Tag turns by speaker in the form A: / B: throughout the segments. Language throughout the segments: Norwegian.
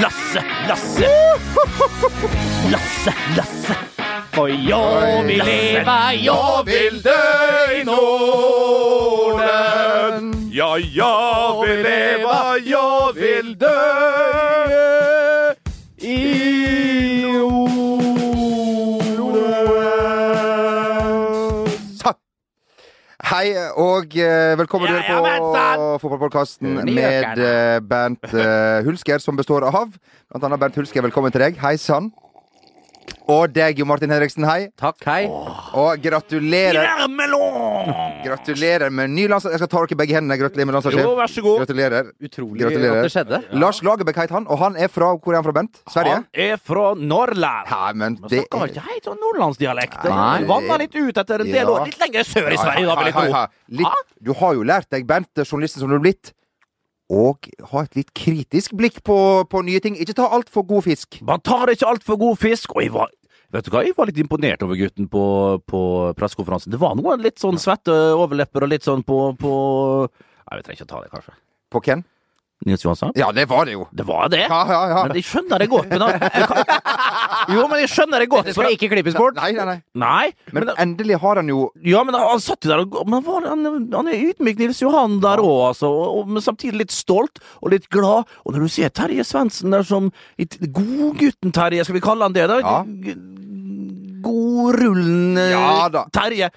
A: Lasse, Lasse. Lasse, Lasse. For jo vil leve, jo vil dø i Norden.
B: Ja, ja, vi lever, ja, vil dø
A: I Norden.
C: Hei og eh, velkommen
A: Ja,
C: ja,
A: ja, men
C: på
A: sant!
C: fotballpodkasten
A: Hun i
C: med
A: økerne.
C: eh, Bernt eh, Hulsker, som består av blant annet Bernt Hulsker. Velkommen til deg. Hei sann. Og deg, Jo Martin Henriksen. Hei.
D: Takk, hei.
C: Og gratulerer.
A: Melon.
C: Gratulerer med ny landslag... Jeg skal ta dere i begge hendene. Gratulerer med
B: Jo,
C: landslagssjef.
B: vær så god.
C: Gratulerer.
D: Utrolig
C: Gratulerer.
D: at det skjedde.
C: Lars Lagerbäck het han, og han er fra Hvor er han fra, Bent? Sverige?
A: Han er fra Norrland.
C: Nei, men
A: Men
C: det
A: snakker ikke helt sånn nordlandsdialekt.
C: Nei.
A: Vanna litt ut etter en del
C: Ja.
A: år. Litt lenger sør i Sverige, da, vil jeg
C: Hei, hei,
A: tro.
C: hei.
A: Ah!
C: Litt, du har jo lært deg, Bent, journalisten som du er blitt, og ha et litt kritisk blikk på, på nye ting. Ikke ta altfor god fisk.
A: Man tar ikke altfor god fisk, og jeg var Vet du hva, jeg var litt imponert over gutten på, på pressekonferansen. Det var noen litt sånn svette overlepper og litt sånn på, på Nei, vi trenger ikke å ta det, kanskje.
C: På hvem?
A: Nils Johansson?
C: Ja, det var det jo.
A: Det var det.
C: Ja, ja, ja.
A: Men jeg skjønner det godt. Men da, jeg kan, jo, men jeg skjønner det godt.
D: Det skal ikke klippes bort.
C: Nei, nei, nei.
A: Nei, men,
C: Men endelig har han jo
A: ja, men han satt jo der og men var, han, han er ydmyk, Nils Johan, der òg, altså. Og, og, men samtidig litt stolt og litt glad. Og når du ser Terje Svendsen der som Godgutten Terje, skal vi kalle han det? da?
C: Ja.
A: G- Godrullende
C: Ja da.
A: Terje.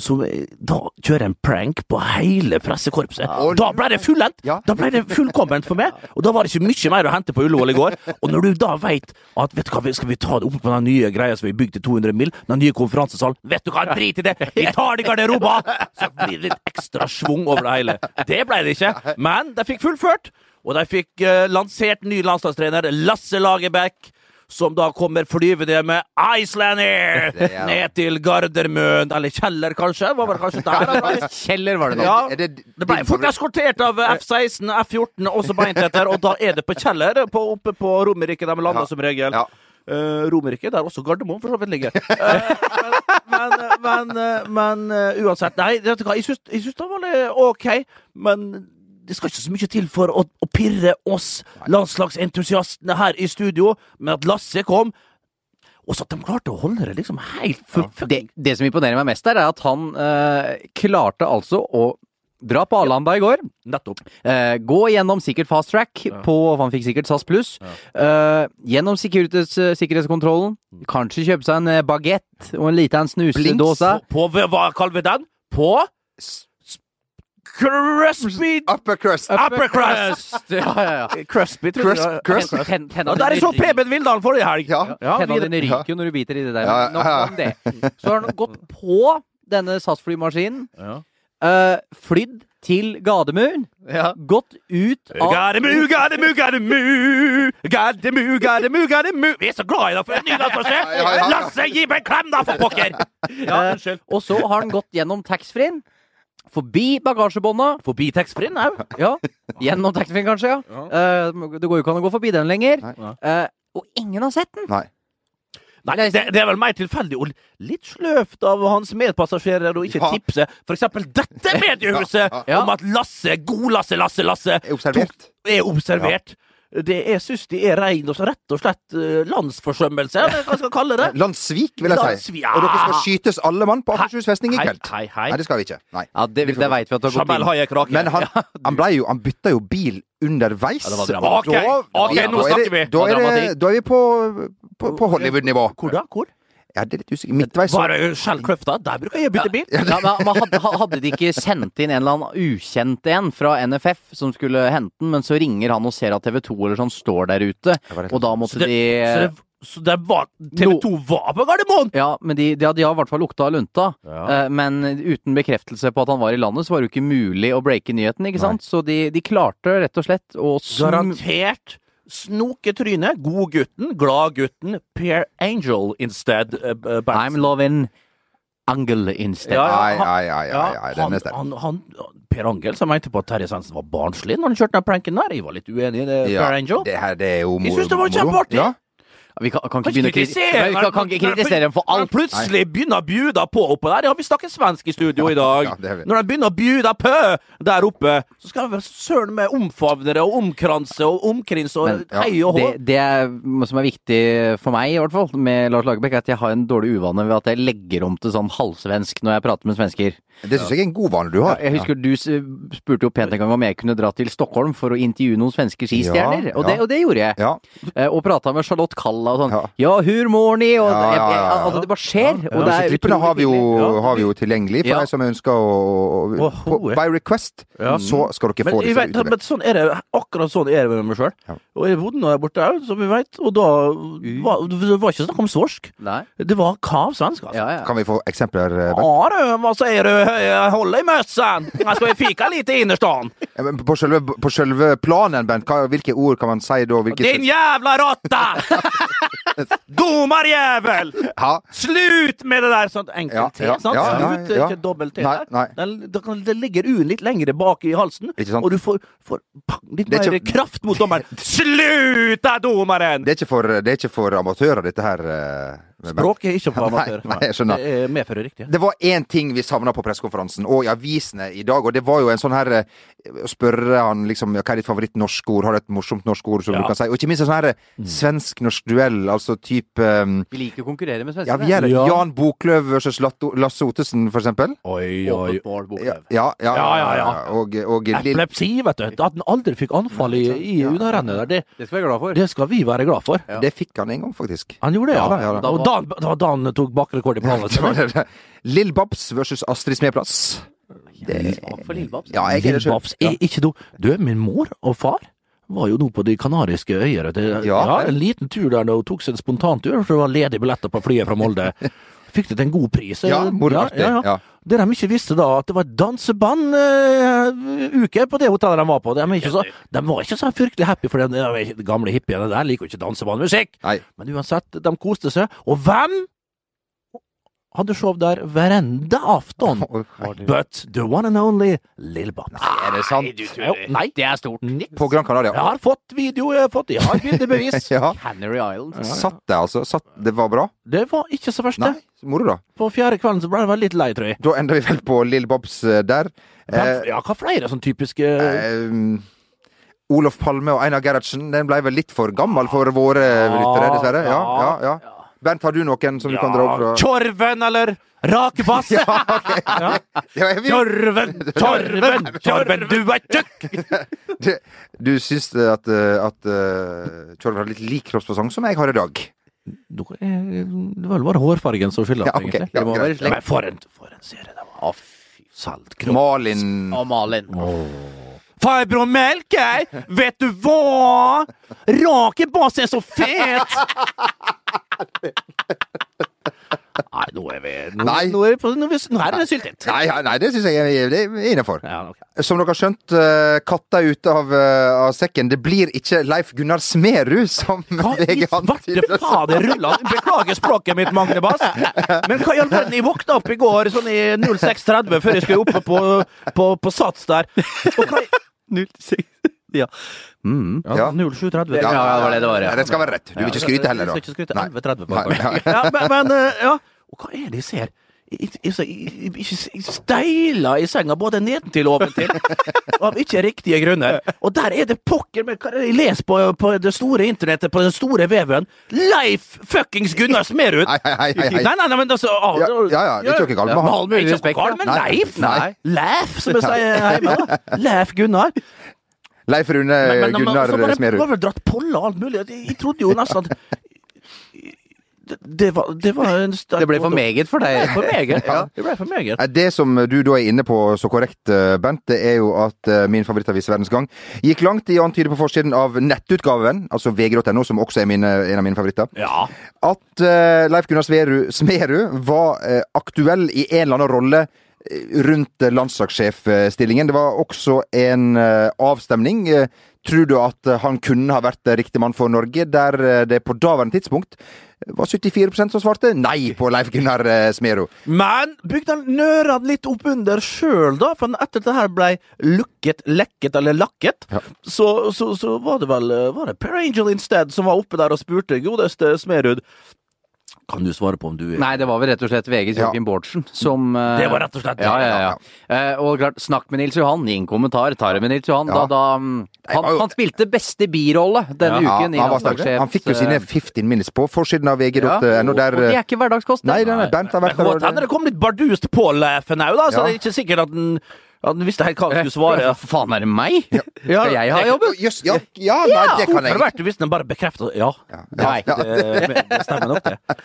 A: Som eh, da kjører en prank på hele pressekorpset.
C: Ja.
A: Da ble det fullendt!
C: Ja.
A: Da ble det fullkomment for meg, og da var det ikke mye mer å hente på Ullevål i går. Og når du da veit at vet du hva, vi- skal vi ta det oppe på den nye greia som vi bygde til 200 mil, den nye konferansesalen, vet du hva, drit i det, vi tar det i garderoba! Så blir det litt ekstra schwung over det hele. Det ble det ikke, men de fikk fullført, og de fikk eh, lansert ny landslagstrener, Lasse Lagerbäck. Som da kommer flyvende med Icelander
C: Det er-
A: ned til Gardermøen, eller Kjeller, kanskje? Var vel kanskje der? han var?
D: Kjeller var det nå.
A: Ja.
C: Er det,
A: Det ble fort eskortert av
C: Eh,
A: F-16, F-14 og så beint etter, og da er det på Kjeller, på, oppe på Romerike, der vi lander
C: Ja.
A: som regel.
C: Ja.
A: Eh, Romerike, der også Gardermoen for så vidt ligger. Eh, men men, men, eh, men eh, uansett, nei, vet du hva, jeg syns, jeg syns det var litt OK, men det skal ikke så mye til for å, å pirre oss landslagsentusiastene her i studio med at Lasse kom, og så at de klarte å holde det liksom helt for, for,
D: Det, det som imponerer meg mest der, er at han eh, klarte altså å dra på Arlanda i går.
A: Nettopp.
D: Eh, gå gjennom sikkert fast track på Han fikk sikkert SAS pluss. Eh, gjennom sikkerhets, sikkerhetskontrollen. Kanskje kjøpe seg en bagett og en liten snusedåse.
A: På, på hva kaller vi den? På
C: S-
A: Crispy
C: Upper crust.
A: Upper crust!
D: Ja, ja, ja.
A: Crispy, tror
C: Crust,
A: jeg.
C: crust.
D: Ten- ten- tenna
A: Ja, der jeg
D: dine
A: så
D: ryker.
A: Preben Vildal forrige helg.
C: Ja.
D: Ja,
A: Ja,
D: Tenna
A: videre-
D: dine ryker jo når du biter i det der.
C: Ja, ja,
D: men Nok
C: ja.
D: om det. Så har han gått på denne SAS-flymaskinen, eh, flydd til Gardermoen, gått ut av
A: Gardermu, Gardermu, Gardermu. Gardermu, Gardermu, Gardermu. Vi er så glad i deg for en ny landslagssjef!
C: Ja, ja, ja.
A: Lasse, gi meg en klem, da, for pokker! Ja,
D: eh,
A: unnskyld.
D: Og så har han gått gjennom taxfree-en, forbi bagasjebånda,
A: Forbi taxfree-en òg.
D: ja, gjennom taxfree-en kanskje, ja. Eh, det går jo ikke an å gå forbi den lenger.
C: Nei.
D: Eh, og ingen har sett den!
C: Nei.
A: Nei, det, det er vel mer tilfeldig og litt sløvt av hans medpassasjerer å ikke
C: Ja.
A: tipse for eksempel dette mediehuset
C: Ja,
D: ja.
A: om at Lasse, god Lasse, Lasse, Lasse,
C: Er observert.
A: er observert. Det er, syns de er rein og rett og slett eh, landsforsømmelse, eller hva skal jeg kalle det?
C: Landssvik, vil jeg si.
A: Landsvi- ja.
C: Og dere skal skytes alle mann på Akershus festning i
A: Hei,
C: kveld.
A: hei, hei.
C: Nei, det skal vi ikke. Nei.
D: Ja, det, det veit vi at det har gått
A: Jamal
D: inn.
A: Hayek Rakel.
C: Men han, han ble jo Han bytta jo bil underveis.
D: Ja, det var
C: Så
D: drama.
A: Ok, ok,
C: da-
A: nå
C: da er det-
A: snakker vi.
C: Da er,
D: Dramatikk.
C: det, da er vi på, på, på Hollywood-nivå.
A: Hvor da? Hvor?
C: Ja, det er litt usikkert. Midtveis. så-
A: Var det Skjell Kløfta? Der bruker jeg å bytte bil.
D: Ja, men men hadde, hadde de ikke sendt inn en eller annen ukjent en fra NFF som skulle hente den, men så ringer han og ser at TV 2 eller sånn står der ute,
C: var det.
D: og da måtte
A: Så det-
D: de
A: Så det, så det var TV 2 var på Gardermoen!
D: ja, men de, de, hadde- de har i hvert fall lukta lunta,
A: Ja.
D: eh, men uten bekreftelse på at han var i landet, så var det jo ikke mulig å breake nyheten, ikke sant? Så de, de klarte rett og slett å snu
A: Garantert snoketryne. Godgutten, gladgutten, Per Angel instead. eh, eh, Berntsen.
D: I'm loving Angel instead.
A: Ja,
C: Ai,
A: han-
C: ai, ai, ai, ai. Den er
A: han,
C: sterk.
A: han, han, Per Angel som mente på at Terje Svendsen var barnslig når han kjørte den pranken der. Jeg var litt uenig i det,
C: Ja,
A: Per Angel.
C: Det her, det er jo
A: Jeg synes det var
C: moro.
A: kjempeartig.
C: Ja.
D: Vi kan, kan ikke
A: Kan
D: begynne
A: ikke
D: å kritisere,
A: kritisere
D: Nei, vi kan, kan ikke kritisere dem for
A: Når
D: alt.
A: de plutselig begynner å bjuda på oppå der Ja, vi snakker svensk i studio i dag.
C: Ja, det er vi.
A: Når de begynner å bjuda på der oppe, så skal de vel søren meg omfavne det og omkranse og omkrinse og
D: Men, ja,
A: hei og hå.
D: Det, det er, som er viktig for meg, i hvert fall, med Lars Lagerbäck, er at jeg har en dårlig uvane ved at jeg legger om til sånn halvsvensk når jeg prater med svensker.
C: Det syns jeg er en god vane du har.
D: Jeg husker du s- spurte jo pent en gang om jeg kunne dra til Stockholm for å intervjue noen svenske skistjerner,
C: Ja,
D: og, det,
C: ja.
D: og det gjorde jeg.
C: Ja.
D: Eh, Og prata med Charlotte Kalla og sånn.
C: Ja.
D: Ja, hur mår ni? Og
C: Ja, ja, ja, ja.
D: jeg- Altså, det bare skjer.
A: Ja,
D: Og det
C: Så
D: er
C: klippene
D: utrolig
C: har vi jo,
D: hyggelig. Ja.
C: har vi jo tilgjengelig for
D: Ja.
C: deg som ønsker å å-
A: Å,
C: på,
A: ho, ja.
C: By request,
A: Ja.
C: så skal dere
A: Men,
C: få
A: jeg
C: disse
A: vet,
C: utover.
A: men sånn er det, akkurat sånn er det med meg sjøl.
C: Ja.
A: Og jeg bodde nå der borte òg, som vi veit, og da
D: Mm.
A: var det var ikke snakk om svorsk.
D: Nei.
A: Det var kav svensk, altså.
D: Ja, ja.
C: Kan vi få eksempler? eh, Bent?
A: Ja du, hva sier du? Jeg holder i møssen! Jeg skal fika litt i innerstan!
C: Ja, Eh, men På selve, på selve planen, Bent, hva, hvilke ord kan man si da? Hvilke,
A: Din jævla rotta! Domarjævel!
C: ja.
A: Slutt med det der! Sånn enkel
C: Ja,
A: T,
C: ja,
A: sant?
C: ja,
A: Slutt,
C: ja, ja.
A: ikke dobbelt T.
C: Nei,
A: der.
C: nei.
A: Den- da kan- Det ligger U-en litt lengre bak i halsen,
C: Ikke sant?
A: og du får, får pang, litt
C: Det
A: mer
C: er ikke-
A: kraft mot dommeren. Slutt da, dommeren!
C: Det, er ikke for, det er ikke for amatører, dette her. eh, Bent.
A: Språket er ikke for
C: Nei,
A: amatører.
C: nei, jeg skjønner.
A: Det er medfører riktig.
C: Det var én ting vi savna på pressekonferansen og i avisene i dag, og det var jo en sånn her eh, Å spørre han liksom ja, hva er ditt favoritt-norske ord, har du et morsomt norsk ord som
A: Ja. Mm.
C: du kan si? Og ikke minst en sånn her eh, svensk-norsk duell, altså type eh,
D: Vi liker å konkurrere med
C: Ja,
D: svenskene.
C: vi er det.
A: Ja.
C: Jan Boklöv versus Latto- Lasse Ottesen, for eksempel.
A: Oi,
D: Åpent mål, Boklöv.
C: Ja, ja. ja,
A: Ja, ja, ja.
C: Og, og Lill...
A: Epilepsi, vet du. At den aldri fikk anfall i, i underrennet der, det,
D: Det skal vi være glad for.
A: det skal vi være glad for.
D: Ja.
C: Det fikk han en gang, faktisk.
A: Han gjorde det, ja.
C: Ja da, ja da.
A: Da, og Dan, da, Dan tok bakrekord i planen.
C: Det var det der. Lill Babs versus Astrid Smeplass.
D: Svak for Lillebabs.
C: Ja, jeg er det
A: Lille
C: sjøl.
A: Babs, er ikke du Du, min mor og far var jo nå på de kanariske øyer. vet du.
C: Ja.
A: ja, en liten tur der nå, tok seg en spontantur, for det var ledige billetter på flyet fra Molde. Fikk det til en god pris. eh,
C: Ja, moroartig.
A: ja, ja.
C: Ja.
A: Det de ikke visste da, at det var dansebanduke på det hotellet de var på. De, er ikke så, de var ikke så fryktelig happy, for de, de gamle hippiene der liker jo ikke dansebandmusikk.
C: Nei.
A: Men uansett, de koste seg. Og hvem hadde show der hver enda aften?
C: Å, hei.
A: But the one and only Lill Babs.
C: Er det sant?
A: Jo, nei, det er stort.
C: På Gran Canaria.
A: Jeg har fått video, jeg har fått, jeg har bildebevis.
C: Ja.
D: Canary Islands.
C: Satt det, altså? Satt, det var bra?
A: Det var ikke så verst,
C: Nei,
A: det.
C: moro, da.
A: På fjerde kvelden så ble jeg vel litt lei, tror jeg.
C: Da ender vi vel på Lill Babs eh, der.
A: Hvem- Ja, hva flere sånn typiske
C: Ehm, Olof Palme og Einar Gerhardsen, den ble vel litt for gammel for våre lyttere, dessverre. Ja, ja, ja. Bent, har du noen som du kan dra opp fra?
A: Tjorven, eller Rakebass! ja,
C: Det var- vi-
A: Tjorven, Tjorven, Tjorven, du er tjukk!
C: Det- Du syns eh, at, eh, at eh, Tjorven har litt lik kroppsfasong som jeg har i dag.
A: eh, Det var vel bare hårfargen som skylder,
C: Ja, ok,
A: egentlig.
C: ja,
A: Det var
C: greit.
A: vel slekt. Men for en, for en serie det var. Saltkropp.
C: Malin
D: Og Malin.
A: Farbror Melkei, vet du hva? Rakebass er så fet! Nei, nå er vi Nå,
C: Nei.
A: nå, er, vi på, nå, er vi, nå er det syltet.
C: Nei, ja, nei det syns jeg er, det er innafor.
A: Ja, ok.
C: Som dere har skjønt, eh, katta er ute av, eh, av sekken. Det blir ikke Leif Gunnar Smerud som
A: Hva i
C: VG
A: svarte
C: antyder.
A: fader rulla Beklager språket mitt, Magne Bass. Men hva i all verden? Jeg våkna opp i går sånn i 06.30 før jeg skulle oppe på, på, på Sats der. Og hva, i-
D: 06. Ja. Mm.
A: ja, 07.30.
D: Ja, ja, det var det det var, ja.
C: Nei, Det skal være rett. Du vil ikke skryte heller, da.
A: Jeg skal ikke skryte.
C: Nei.
A: 11.30 på
C: Nei,
A: en gang. Ja, men, men eh, ja. Og hva er det jeg ser? Jeg, jeg, jeg, jeg, jeg steiler i senga både nedentil og oventil, av ikke riktige grunner. Og der er det pokker meg hva er det Jeg leser på, på det store internettet, på den store veven Leif fuckings Gunnar Smerud!
C: Nei, nei, nei, nei.
A: Nei, nei, nei, men altså ah,
C: Ja, ja, ja, det er ikke noe galt med han.
A: all mulig respekt. Ikke noe galt med
C: Nei.
A: Leif!
C: Nei.
A: Leif, som jeg sier hjemme. da. Leif Gunnar.
C: Leif Rune
B: Eh,
A: Men- men- men- så var
C: Gunnar
A: det-
C: Smerud.
A: var vel dratt poller og alt mulig. Jeg, jeg trodde jo nesten at det, det, var, det var en sterk
D: Det ble for meget for
A: Det ble
D: deg.
A: for meget. Ja. Det ble for meget.
C: Nei, Det som du da er inne på så korrekt, eh, Bent, det er jo at eh, min favorittavis Verdens Gang gikk langt i å antyde på forsiden av nettutgaven, altså vg.no, som også er mine, en av mine favoritter,
A: Ja.
C: at eh, Leif Gunnar Sverud, Smerud var eh, aktuell i en eller annen rolle eh, rundt eh, landslagssjefstillingen. Det var også en eh, avstemning. eh, Tror du at eh, han kunne ha vært eh, riktig mann for Norge, der eh, det på daværende tidspunkt var 74 som svarte nei på Leif Gunnar eh, Smerud.
B: Men bygde han nørene litt opp under sjøl, da? For etter det her blei lukket, lekket eller lakket,
C: Ja.
B: så, så, så var det vel eh, Var det Per Angel instead som var oppe der og spurte godeste Smerud Kan du svare på om du er
D: Nei, det var vel rett og slett VGs
C: Ja.
D: Joakim Bårdsen som eh,
A: Det var rett og slett
D: ja, ja, ja. Eh, og klart, snakk med Nils Johan. Ingen kommentar. Tar det med Nils Johan.
C: Ja.
D: Da, da, mm, han,
C: var jo-
D: han spilte beste birolle denne
C: Ja,
D: uken. i
C: han, var sterk.
D: landslagssjef,
C: han fikk jo sine 15 minutes på forsiden av
D: eh, ja,
C: vg.no.
D: og, og
C: der
D: det
C: eh,
D: er ikke hverdagskost. det.
C: Nei, nei, nei, Bernt har
A: Det
C: vært
A: kan godt hende
C: der.
A: det kom litt bardust på Leffen òg, da, så
C: Ja.
A: det er ikke sikkert at den, at den visste helt hva han skulle svare.
D: Hva faen er det meg? Skal jeg ha
C: Å,
D: jobben?
C: Jøss, ja, ja, nei, det kan
A: Det
C: jeg
A: hadde vært hvis den bare bekrefta ja.
D: Nei.
A: Det, det stemmer nok, det.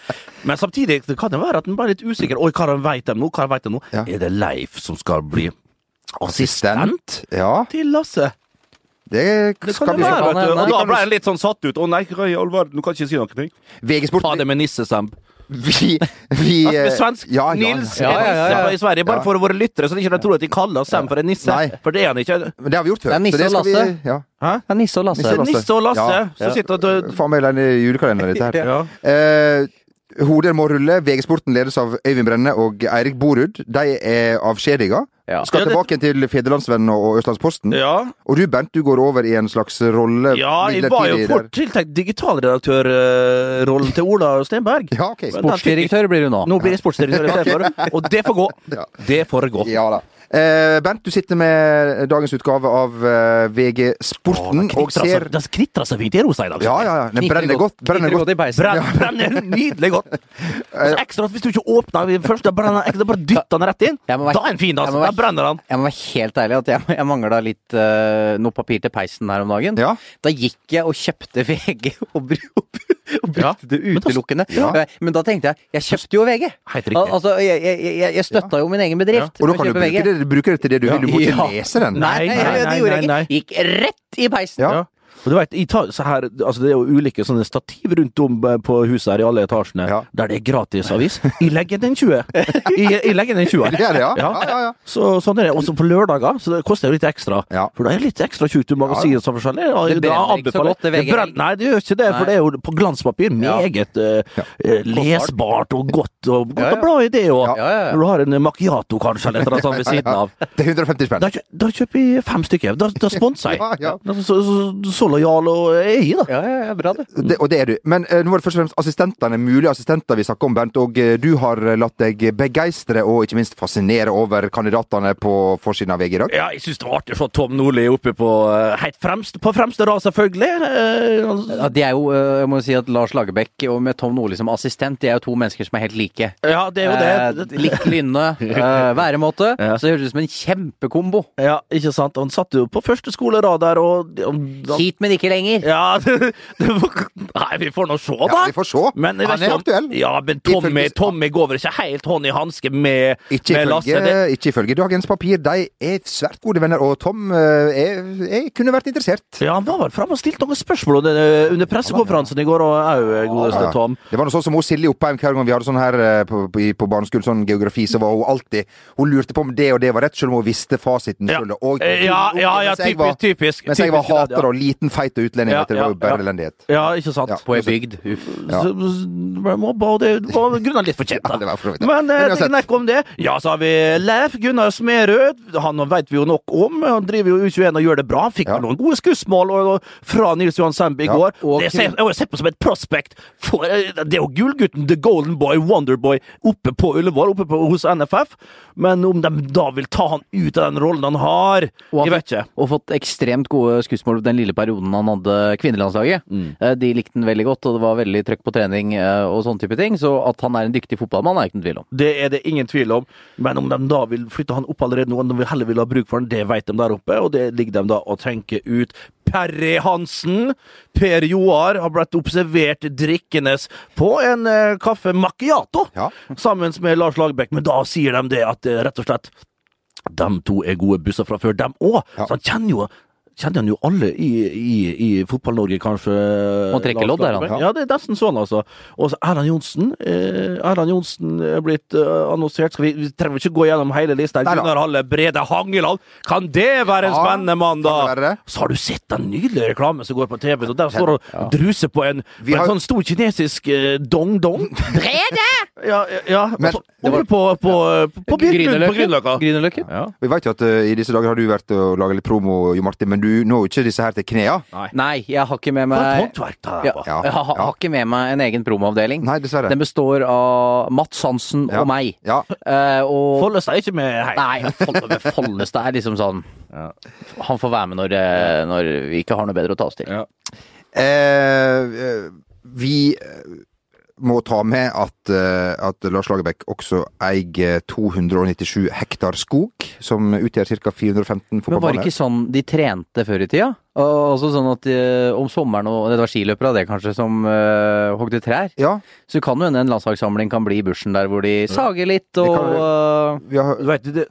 A: Men samtidig det kan det være at den bare er litt usikker. Oi, hva veit de nå? Hva vet de nå?
C: Ja.
A: Er det Leif som skal bli assistent
C: ikke. Ja,
A: til Lasse?
C: det
A: Det kan
C: skal
A: det
C: vi
A: være,
D: kan
A: vet du.
D: hende.
A: Og da
D: Kan
A: ble jeg litt sånn satt ut. Å nei, hva i all verden, du kan ikke si noe.
C: VG Sport,
A: Ta det med nissestemp.
C: vi, vi
A: Altså,
C: eh,
A: med svensk
C: ja, ja,
A: Nils
D: ja, ja, ja,
A: er
D: ja.
A: nisse i Sverige, bare
C: Ja.
A: for våre lyttere, så de ikke tror at de kaller Sam for en nisse.
C: Nei.
A: For det er han ikke.
C: Men det har vi gjort før.
D: Det er Nisse
C: så det
D: og
C: skal
D: Lasse.
C: Vi, ja.
D: Det er Nisse og Lasse.
C: Nisse og Lasse.
A: Nisse og Lasse
C: Ja.
A: som sitter og
C: Faen meg den julekalenderen ditt her.
A: Ja.
C: Eh, Hoder må rulle. VG-sporten ledes av Øyvind Brenne og Eirik Borud. De er avskjediga.
D: Ja.
A: Ja,
C: Skal
A: det-
C: tilbake til Federlandsvennen og Østlandsposten.
A: ja.
C: Og du, Bernt, du går over i en slags rolle
A: ja, jeg var jo
C: midlertidig
A: fort
C: der.
A: tiltenkt digitalredaktørrollen til Ola Stenberg.
C: Ja, ok.
A: Men-
D: Sportsdirektør blir du nå.
A: Nå blir jeg sportsdirektør istedenfor, og det får gå.
C: Ja.
A: Det får gå.
C: Ja da. Eh, Bernt, du sitter med dagens utgave av eh, VG-sporten og
D: altså.
C: ser
A: Det knitrer så fint i rosa i dag.
C: Ja, ja, ja. Den brenner godt. Brenner godt.
D: i peisen.
A: Brenn, brenner nydelig godt. Og så ekstra at Hvis du ikke åpner den først, da brenner den ekstra, bare dytter den rett inn.
D: Jeg
A: Da
D: må være-
A: er den fin,
D: jeg
A: altså.
D: må
A: Da
D: være-
A: brenner den.
D: Jeg må være helt ærlig at jeg, jeg mangla litt eh, noe papir til peisen her om dagen.
C: Ja.
D: Da gikk jeg og kjøpte VG og, bru- og bru- og brukte
A: Ja,
D: det
A: men da-
D: utelukkende.
C: Ja.
D: Eh, Men da tenkte jeg jeg kjøpte jo VG!
A: Helt
D: Al
A: riktig.
D: altså, jeg, jeg, jeg, jeg støtta jo min egen bedrift.
C: Og da
D: ved å
C: kan du
D: kjøpe
C: bruke
D: VG.
C: det, bruke det til det du vil. Du må ikke
D: Ja.
C: lese den.
D: Nei,
A: Nei,
D: nei,
A: nei,
D: det gjorde jeg
A: nei,
D: ikke. Gikk rett i peisen!
C: Ja.
A: Ja. Og du vet, i ta- så her, altså Det er jo ulike sånne stativ rundt om eh, på huset her i alle etasjene,
C: Ja.
A: der det er gratis avis. I leggen den 20. I, i leggen den 20.
C: Det er det, ja.
A: Ja.
C: Ja, ja, ja.
A: Så, sånn er det. Også på lørdager, så det koster jo litt ekstra.
C: Ja.
A: For da er det litt ekstra tjukt i magasinet. og sånn forskjellig. Ja,
D: Det brenner ikke så
A: anbefaler-
D: godt, det VG.
A: brenner- Nei, det gjør ikke det, for
D: Nei.
A: det er jo på glanspapir meget eh, eh, lesbart og godt. Og godt
D: Ja, ja.
A: og bra i det òg.
D: Ja, ja, ja.
A: Når du har en eh, macchiato kanskje, eller et eller annet sånt ved siden av.
C: Det er 150 spenn.
A: Da, kjø- da kjøper jeg fem stykker. Da, da sponser jeg.
C: Ja, ja.
A: Da- Så, så, så lojal og er jeg, da.
D: Ja, ja, ja, bra det.
C: Det, og det er du. Men eh, nå var det først og fremst assistentene, mulige assistenter vi snakker om, Bernt. Og eh, du har eh, latt deg begeistre og ikke minst fascinere over kandidatene på forsiden av VG i dag.
A: Ja, jeg syns det var artig å se Tom Nordli oppe på eh, helt fremst, på fremste rad, selvfølgelig. Eh, altså-
D: Ja, det er jo, eh, jeg må si at Lars Lagerbäck og med Tom Nordli som assistent, de er jo to mennesker som er helt like.
A: Ja, det er jo det.
D: Eh, likt lynne, eh, væremåte. Så det høres ut som en kjempekombo.
A: Ja, ikke sant? Han satt jo på første skolerad der, og og-
D: Hit, men ikke lenger.
A: Ja, det, det var, Nei, vi får nå se, da.
C: Ja, vi får se.
A: Men jeg vet
C: Han er
A: ikke om-
C: aktuell.
A: Ja, men Tommy,
C: Ifølge-
A: Tommy går vel ikke helt hånd i hanske med,
C: Ikke
A: med Lasse?
C: ifølge,
A: Det,
C: ikke ifølge dagens papir. De er svært gode venner, og Tom eh, er, er, kunne vært interessert.
A: ja, han var vel framme og stilte noen spørsmål under, under pressekonferansen i går, og òg godeste
C: Ja.
A: Tom.
C: Det var noe sånn som hun Silje Oppheim hver gang vi hadde sånn her eh, på, på, i- på barneskolen, sånn geografi, så var hun alltid Hun lurte på om det og det var rett, selv om hun visste fasiten
A: Ja, Eh,
C: sjøl. Og
A: ja, ja, ja
C: mens jeg var-
A: typisk, typisk.
C: Mens jeg var
A: typisk i det, ja.
C: hater og liten, feit og utlending,
A: Ja,
C: vet du, det var
A: ja,
C: jo bare
A: ja.
C: elendighet.
A: Ja, ikke sant?
C: Ja.
D: På ei bygd. Uff.
C: Ja.
A: Så, så ble jeg mobba, og det var grunnen litt fortjent.
C: Ja,
A: Da.
C: det var for så vidt det.
A: Men eh,
C: Men
A: det
C: uansett.
A: er nok om det. Ja, så har vi Leif Gunnar Smerud. Han vet vi jo nok om. Han driver jo U21 og gjør det bra. Han fikk
C: Ja.
A: vel noen gode skussmål og, og, fra Nils Johan Sandby i
C: Ja,
A: går.
D: og
A: det ser jeg har jo sett på som et prospect. For, eh, det er jo gullgutten, The Golden Boy, Wonderboy, oppe på Ullevål, oppe på, hos NFF. Men om de da vil ta han ut av den rollen han har,
D: Og han-
A: jeg vet ikke.
D: Og fått ekstremt gode skussmål den lille perioden han hadde kvinnelandslaget.
A: Mm.
D: Eh, De likte han veldig godt, og det var veldig trøkk på trening eh, og sånne type ting. Så at han er en dyktig fotballmann, er ikke noen tvil om.
A: Det er det ingen tvil om. Men om de da vil flytte han opp allerede nå, om de heller vil ha bruk for han, det vet de der oppe, og det ligger de da og tenker ut. Perry Hansen, Per Joar, har blitt observert drikkende på en eh, kaffe macchiato
C: Ja.
A: sammen med Lars Lagerbäck, men da sier de det at eh, rett og slett de to er gode busser fra før, dem òg.
C: Ja.
A: Så han kjenner jo kjenner han jo alle i, i, i Fotball-Norge, kanskje.
D: Må trekke lodd, er han.
A: Ja, det er nesten sånn, altså. Og så Erland Johnsen. Eh, Erland Johnsen er blitt eh, annonsert. Skal vi, vi trenger ikke gå gjennom hele lista.
C: Nei da.
A: Gunnar Halle, Brede Hangeland. Kan det være en
C: Ja,
A: spennende mann, da?
C: kan det være det.
A: Så har du sett den nydelige reklamen som går på TV, og der står han og druser på en, på
C: Vi
A: en
C: har-
A: sånn stor kinesisk eh, dong-dong. Brede! ja, ja, ja.
C: Men-
A: på, på, på, på, på Bjørklund, på Grünerløkka.
D: Grünerløkken.
A: Ja.
C: Vi vet jo at eh, i disse dager har du vært og laga litt promo, Jo Martin, men du når jo ikke disse her til knea.
D: Nei, jeg har ikke med
A: For et
D: meg
A: håndverk det
D: ja,
A: er på.
C: Ja,
D: Jeg har,
C: ja.
D: har ikke med meg en egen promoavdeling.
C: Nei, dessverre.
D: Den består av Mats Hansen
C: Ja.
D: og meg.
C: Ja.
D: Eh, og
A: Follestad er ikke med her.
D: Nei, Folle- men Follestad er liksom sånn Han får være med når, eh, når vi ikke har noe bedre å ta oss til.
C: Eh, eh, vi eh, må ta med at, eh, at Lars Lagerbäck også eier 297 hektar skog, som utgjør ca. 415
D: Men var det
C: fotballbaner.
D: ikke sånn de trente før i tida? Og også sånn at eh, om sommeren og Det var skiløpere, det kanskje, som uh, hogde trær.
C: Ja,
D: Så kan jo hende en landslagssamling kan bli i bushen der hvor de sager litt
C: kan
D: og
C: vi har,
A: Du vet, det,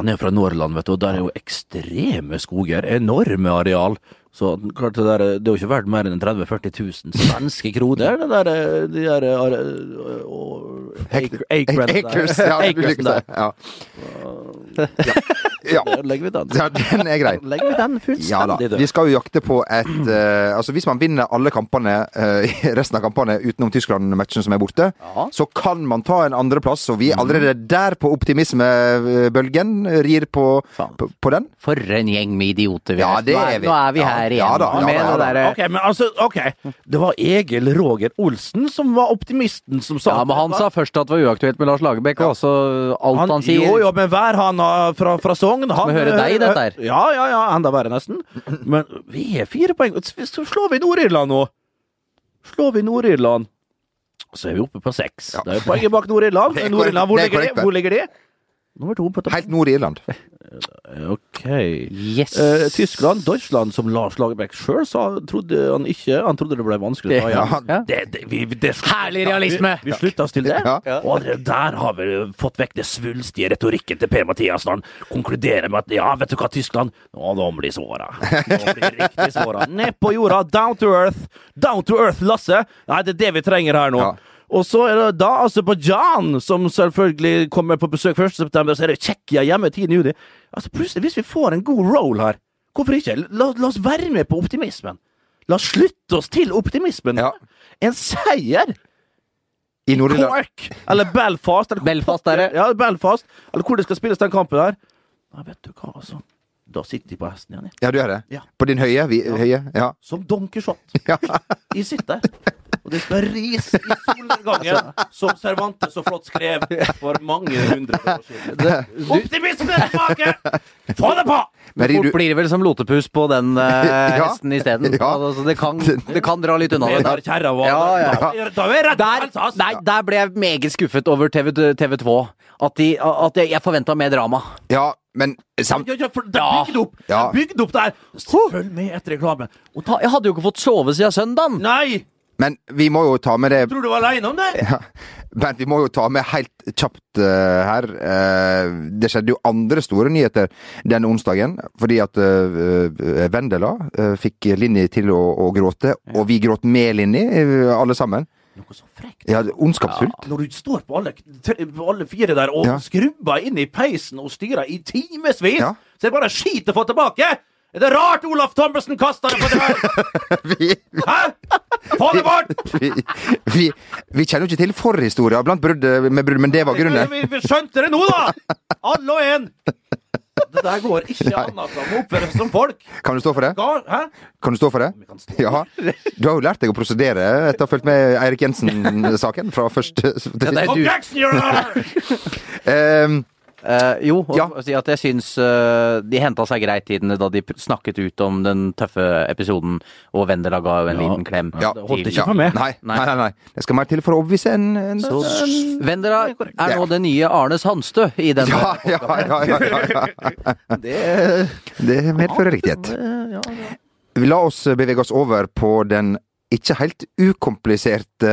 A: han er jo fra Nordland, vet du, og der er jo ekstreme skoger. Enorme areal. Så klart det, der, det er jo ikke verdt mer enn 30 000-40 000 svenske kroner, det der, eh, de der eh, are- eh, og- acre- acrene der.
C: Acres, ja, du
A: Acresen
C: liker det. Ja. Ja.
A: Der legger vi den.
C: ja, den er grei.
A: Der legger vi den
C: Ja da.
A: fullstendig død.
C: Vi skal jo jakte på et eh, Altså, hvis man vinner alle kampene, eh, resten av kampene utenom Tyskland-matchen som er borte, så kan man ta en andreplass, og vi er allerede der på optimismebølgen. Rir på,
D: Faen.
C: på, på den.
D: For eh, en gjeng med idioter vi
C: Ja,
D: er.
C: det
D: Nå
C: er vi.
D: Nå er vi
C: Ja,
D: her igjen.
C: ja da, ja
D: med
C: da, ja
D: det
C: da.
D: derre-
A: Ok, men altså, ok. Det var Egil Roger Olsen som var optimisten som sa
D: ja, men han sa først at det var uaktuelt med Lars Lagerbäck, og også alt han, sier
A: Jo, jo, men hver han har fra, fra Sogn han, eh,
D: vi høre deg i dette her?
A: Ja, ja, ja, enda verre, nesten. Men vi er fire poeng. Så slår vi Nord-Irland nå. Slår vi Nord-Irland, så er vi oppe på seks.
C: Ja.
A: Da er poenget bak Nord-Irland.
C: Det er
A: Nord-Irland, hvor,
C: korrekt,
A: ligger
C: det er
A: de?
C: korrekt,
A: hvor ligger de? Nummer to på tabellen.
C: Helt nord i Irland.
A: Ok.
D: Yes.
A: Eh, Tyskland, Deutschland, som Lars Lagerbäck sjøl sa, trodde han ikke Han trodde det ble vanskelig å ta
D: Ja.
A: igjen. Det, det, vi, det,
D: Herlig realisme!
A: Vi, vi slutter oss til det.
C: Ja.
A: Og det der har vi fått vekk det svulstige retorikken til Per-Mathias når han konkluderer med at ja, vet du hva, Tyskland Nå nå blir såra. Nå blir det riktig såra. Ned på jorda, down to earth. Down to earth, Lasse. Nei, det er det vi trenger her nå.
C: Ja.
A: Og så er det da Aserbajdsjan som selvfølgelig kommer på besøk 1. september, så er det Tsjekkia hjemme 10. juni. Altså, plutselig, hvis vi får en god roll her, hvorfor ikke? La, la oss være med på optimismen. La oss slutte oss til optimismen.
C: Ja.
A: En seier!
C: I Nord-Irland.
A: Cork! Eller Belfast. Eller hvor
D: Belfast
A: pokker-
D: er det.
A: Ja, Belfast. Eller hvor det skal spilles den kampen der. Nei, vet du hva, altså. Da sitter de på hesten igjen, jeg.
C: Ja, du er det?
A: Ja.
C: På din høye? Vi, høye? Ja.
A: Som donkershot.
C: Ja.
A: De sitter der. Og det skal ris i solnedgangen, som Cervantes så flott skrev for mange hundre år siden. Optimismen er tilbake! Få det på!
C: Men rir
D: Fort
C: du
D: blir det vel som lotepus på den eh,
C: Ja.
D: hesten isteden.
C: Ja.
D: Altså, det, kan- det kan dra litt unna.
A: Det
D: det
A: der kjerra var
D: Ja,
A: Da,
D: ja,
A: da er altså, jeg redd for
D: Der,
A: Alsace.
D: nei, der ble jeg meget skuffet over TV, 2. At, de, at jeg, jeg forventa mer drama.
C: Ja, men
A: Ja,
C: sam...
A: ja, ja, for det er bygd opp! Det
C: Ja.
A: er bygd opp der! Følg med etter reklamen. Og ta
D: Ta- Jeg hadde jo ikke fått sove siden søndagen!
A: Nei!
C: Men vi må jo ta med det
A: Tror du var aleine om det?
C: Bernt, vi må jo ta med helt kjapt eh, her. eh, det skjedde jo andre store nyheter den onsdagen, fordi at eh, eh, Vendela eh, fikk Linni til å, å gråte, og vi gråt med Linni, eh, alle sammen.
A: Noe så frekt.
C: Ja, det- ondskapsfullt.
A: Når du står på alle, tre- på alle fire der og
C: Ja.
A: skrubber inn i peisen og styrer i timevis,
C: Ja.
A: så er det bare skit å få tilbake! Er det rart Olaf Thommessen kasta det på det her?
C: Vi,
A: Hæ?! Få det bort!
C: vi, vi, vi kjenner jo ikke til forhistoria blant bruddet med brudd, men det var grunnen.
A: Vi, vi skjønte det nå, da! Alle og en! Det der går ikke annet enn å oppføre seg som folk.
C: Kan du stå for det?
A: Ga- Hæ?
C: Kan du stå for det?
A: Kan stå.
C: Ja. Du har jo lært deg å prosedere etter å ha fulgt med Eirik Jensen-saken fra første til
D: det
C: siste.
D: er-
A: Objection, your honor!
C: Ehm,
D: Eh, jo, og
C: Ja.
D: og si at jeg syns eh, de henta seg greit i den da de pr- snakket ut om den tøffe episoden, og Vendela ga jo en
A: Ja.
D: liten klem.
C: Ja.
D: til-
A: Det holdt ikke
C: ja.
A: for meg.
C: Nei, nei, nei, nei. Det skal mer til for å overbevise en, en
D: Så Vendela er nå den nye Arne Sandstø i den.
C: Ja, ja, ja, ja, ja, ja. Det, medfører riktighet. Vi La oss bevege oss over på den ikke helt ukompliserte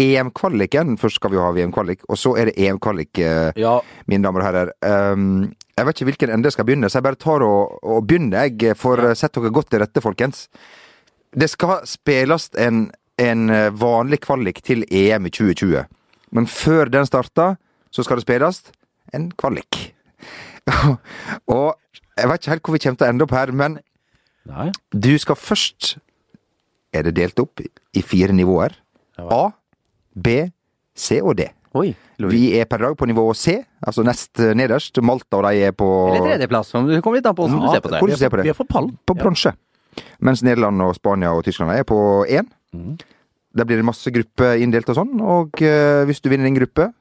C: E EM-kvaliken. Først skal vi jo ha VM-kvalik, og så er det EM-kvalik, E eh,
A: Ja,
C: mine damer og herrer. Um, Jeg vet ikke hvilken ende jeg skal begynne, så jeg bare tar og, og begynner, jeg. For eh, sett dere godt til rette, folkens. Det skal spilles en, en eh, vanlig kvalik til EM i 2020. Men før den starter, så skal det spilles en kvalik. og jeg vet ikke helt hvor vi kommer til å ende opp her, men
B: Nei.
C: du skal først Er det delt opp i fire nivåer? A, B, C og D.
D: Oi.
C: Vi er per dag på nivå C, altså nest eh, nederst. Malta og de er på
D: Eller tredjeplass. om Det kommer litt an på hvordan du ser på det.
C: Hvordan du ser på det.
B: Vi er for pall.
C: På bronse. Mens Nederland og Spania og Tyskland er på én. Der blir det masse grupper inndelt og sånn. Og eh, hvis du vinner din gruppe,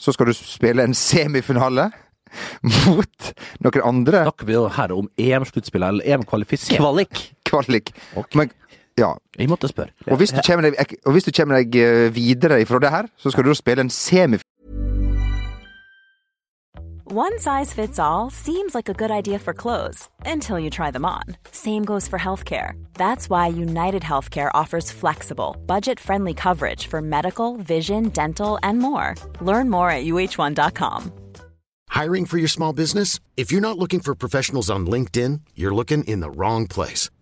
C: så skal du spille en semifinale mot noen andre
B: Snakker vi her om EM-sluttspill eller EM-kvalifisering?
D: Kvalik.
C: kvalik. Men, ja.
B: Jeg måtte spørre.
C: og, hvis du kommer deg, og hvis du kommer deg eh, videre ifra det her, så skal du da spille en semifinale.
E: One size fits all seems like a good idea for clothes until you try them on. Same goes for healthcare. That's why United Healthcare offers flexible, budget friendly coverage for medical, vision, dental, and more. Learn more at uh1.com.
F: Hiring for your small business? If you're not looking for professionals on LinkedIn, you're looking in the wrong place.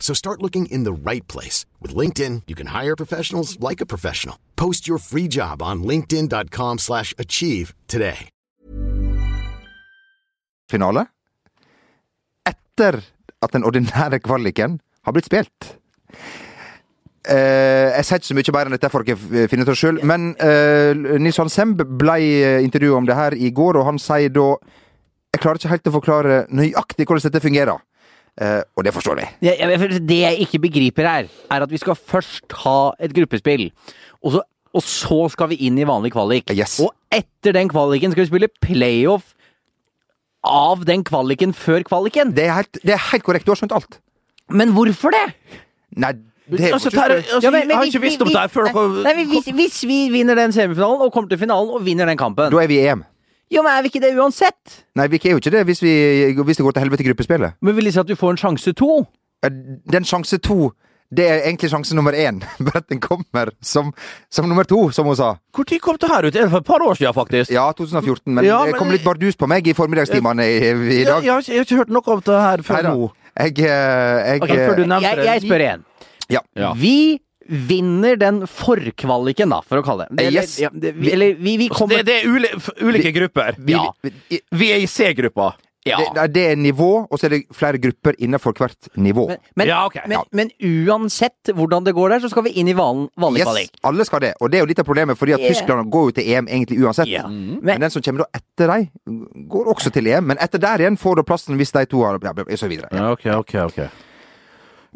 F: So start looking in the right place. With LinkedIn, you can hire professionals like a professional. Post your free job on linkedin.com/achieve slash achieve today.
C: finale etter at den ordinære kvaliken har blitt spilt. Eh, jeg sier ikke så mye mer enn dette, får dere finne ut av sjøl. Men eh, Nils Johan Semb ble intervjua om det her i går, og han sier da Jeg klarer ikke helt å forklare nøyaktig hvordan dette fungerer. Eh, og det forstår jeg.
D: Jeg- jeg- for Det jeg ikke begriper her, er at vi skal først ha et gruppespill. Og så, og så skal vi inn i vanlig kvalik.
C: Yes.
D: Og etter den kvaliken skal vi spille playoff av den kvaliken før kvaliken.
C: Det er helt, det er helt korrekt. Du har skjønt alt.
D: Men hvorfor det?
C: Nei, det
B: Altså, der, altså,
D: Ja, men-
B: jeg
D: men
B: har
D: vi-
B: ikke visst om
D: vi-
B: det her før dere
D: Nei, men hvis, hvis vi vinner den semifinalen og kommer til finalen og vinner den kampen
C: Da er vi i EM.
D: Jo, men er vi ikke det uansett?
C: Nei, vi er jo ikke det hvis, vi, hvis det går til helvete i gruppespillet.
D: Men vil det si at du får en sjanse to?
C: Eh, Den sjanse to, det er egentlig sjanse nummer én. Bare at den kommer som, som nummer to, som hun sa.
B: Når kom det her ut? Er det for et par år siden, faktisk?
C: Ja, 2014, men,
B: Ja,
C: det
B: men-
C: kom litt bardus på meg i formiddagstimene i, i
B: Jeg,
C: dag.
B: jeg, har ikke, jeg har ikke hørt noe om det her før
C: Neida.
B: nå.
C: Jeg, eh, jeg,
B: Ok, før du nevnte
D: Jeg,
B: det.
D: jeg spør igjen.
C: Ja.
B: Ja.
D: Vi vinner den forkvaliken, da, for å kalle det
C: Yes.
D: Eller, ja, det, vi, eller vi, vi
B: Altså,
D: kommer
B: det, det er uli, f- ulike grupper. Vi,
D: Ja.
C: i-
B: vi er i C-gruppa.
D: Ja.
C: det, det er nivå, og så er det flere grupper innenfor hvert nivå.
D: Men, men,
B: Ja, ok.
D: men, men uansett hvordan det går der, så skal vi inn i valen, vanlig
C: Yes,
D: kvalik.
C: alle skal det, og det er jo litt av problemet, fordi at
D: Yeah.
C: Tyskland går jo til EM egentlig uansett.
D: Ja.
C: Men,
B: Mm.
D: Men-
C: den som kommer da etter dem, går også til EM, men etter der igjen får du plassen hvis de to har ja, og så videre.
B: Ja, ok, ok, ok.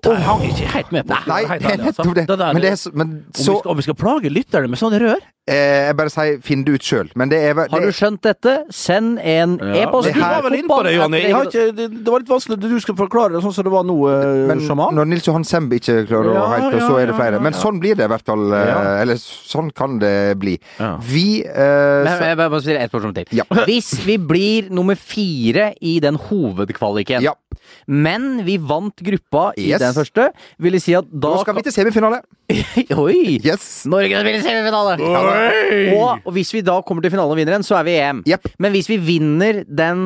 B: Der hang jeg ikke helt med på.
C: Nei,
B: Helt
C: det er
B: ærlig, altså.
C: nettopp det.
B: der-
C: Men, det er, så- men
B: om, vi
C: så
B: skal, om vi skal plage lytterne med sånne rør
C: Eh, jeg bare sier finn det ut sjøl. Men det er vel-
D: Har du
C: det-
D: skjønt dette? Send en e-post.
A: Men Du var vel inne på det, Jonny. Jeg har ikke, det, det var litt vanskelig at du skulle forklare det sånn som det var nå, eh,
C: men
A: sjaman.
C: når Nils Johan Semb ikke klarer å
A: Ja,
C: helt,
A: ja,
C: så er
A: ja,
C: det flere. Men
A: ja, ja.
C: sånn blir det i hvert fall. eh,
A: Ja.
C: Eller sånn kan det bli.
A: Ja.
C: Vi eh,
D: Men,
C: sa-
D: jeg bare stille ett spørsmål til.
C: Ja.
D: Hvis vi blir nummer fire i den hovedkvaliken,
C: Ja.
D: men vi vant gruppa i
C: Yes.
D: den første, vil det si at da
C: Nå skal vi til semifinale!
D: kan- Oi!
C: Yes!
D: Norge spiller semifinale! Og, og hvis vi da kommer til finalen og vinner den, så er vi i EM.
C: Jepp.
D: Men hvis vi vinner den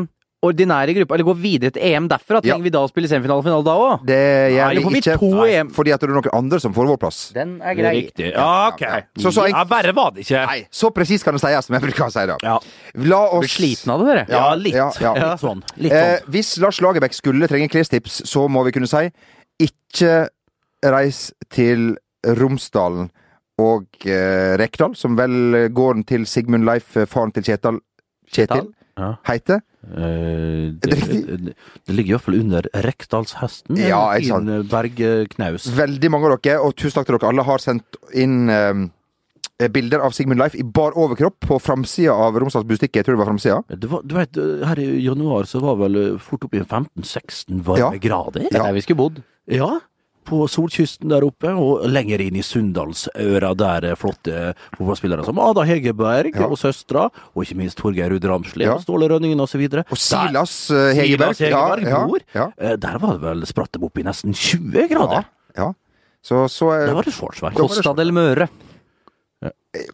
D: ordinære gruppa, eller går videre til EM derfra, trenger
C: Ja.
D: vi da å spille semifinale og finale da òg?
C: Det gjør
D: Eller får
C: vi
D: vi
C: ikke,
D: to
C: Nei,
D: EM?
C: fordi at det er noen andre som får vår plass.
D: Den er grei.
A: Riktig. Ja, ok.
C: Så- så jeg-
A: Ja, verre var det ikke.
C: Nei, så presis kan det sies, som jeg bruker å si det.
A: Ja.
C: La
D: Blir
C: oss
D: sliten av det, dere.
C: Ja, litt. Ja, ja.
A: Litt sånn. Litt
C: Eh,
A: sånn.
C: hvis Lars Lagerbäck skulle trenge klestips, så må vi kunne si ikke reis til Romsdalen og eh, Rekdal, som vel gården til Sigmund Leif, eh, faren til Kjetal Kjetil
A: Ja.
C: heter.
A: Eh,
C: Er det riktig?
A: det, det ligger iallfall under Rekdalshesten. En
C: Ja, ikke sant.
A: fin eh, bergknaus.
C: Veldig mange av dere, og tusen takk til dere alle, har sendt inn eh, bilder av Sigmund Leif i bar overkropp på framsida av Romsdals Bustikke. Jeg tror det var framsida.
A: Det var, du vet, her i januar så var vel eh, fort oppi 15-16 varme
C: Ja.
A: grader.
C: Ja.
D: Der vi skulle bodd.
A: Ja, på solkysten der oppe, og lenger inn i Sunndalsøra, der er flotte fotballspillere som Ada Hegerberg
C: Ja.
A: og søstera, og ikke minst Torgeir Ruud Ramsli
C: Ja.
A: og Ståle Rønningen osv.
C: Og Silas eh, Hegerberg.
A: Silas Hegerberg,
C: ja,
A: bror.
C: ja,
A: Der var det vel spratt dem opp i nesten 20
C: ja,
A: grader.
C: ja. Så, så eh,
A: Det var det shortsverk.
D: Costa del Møre.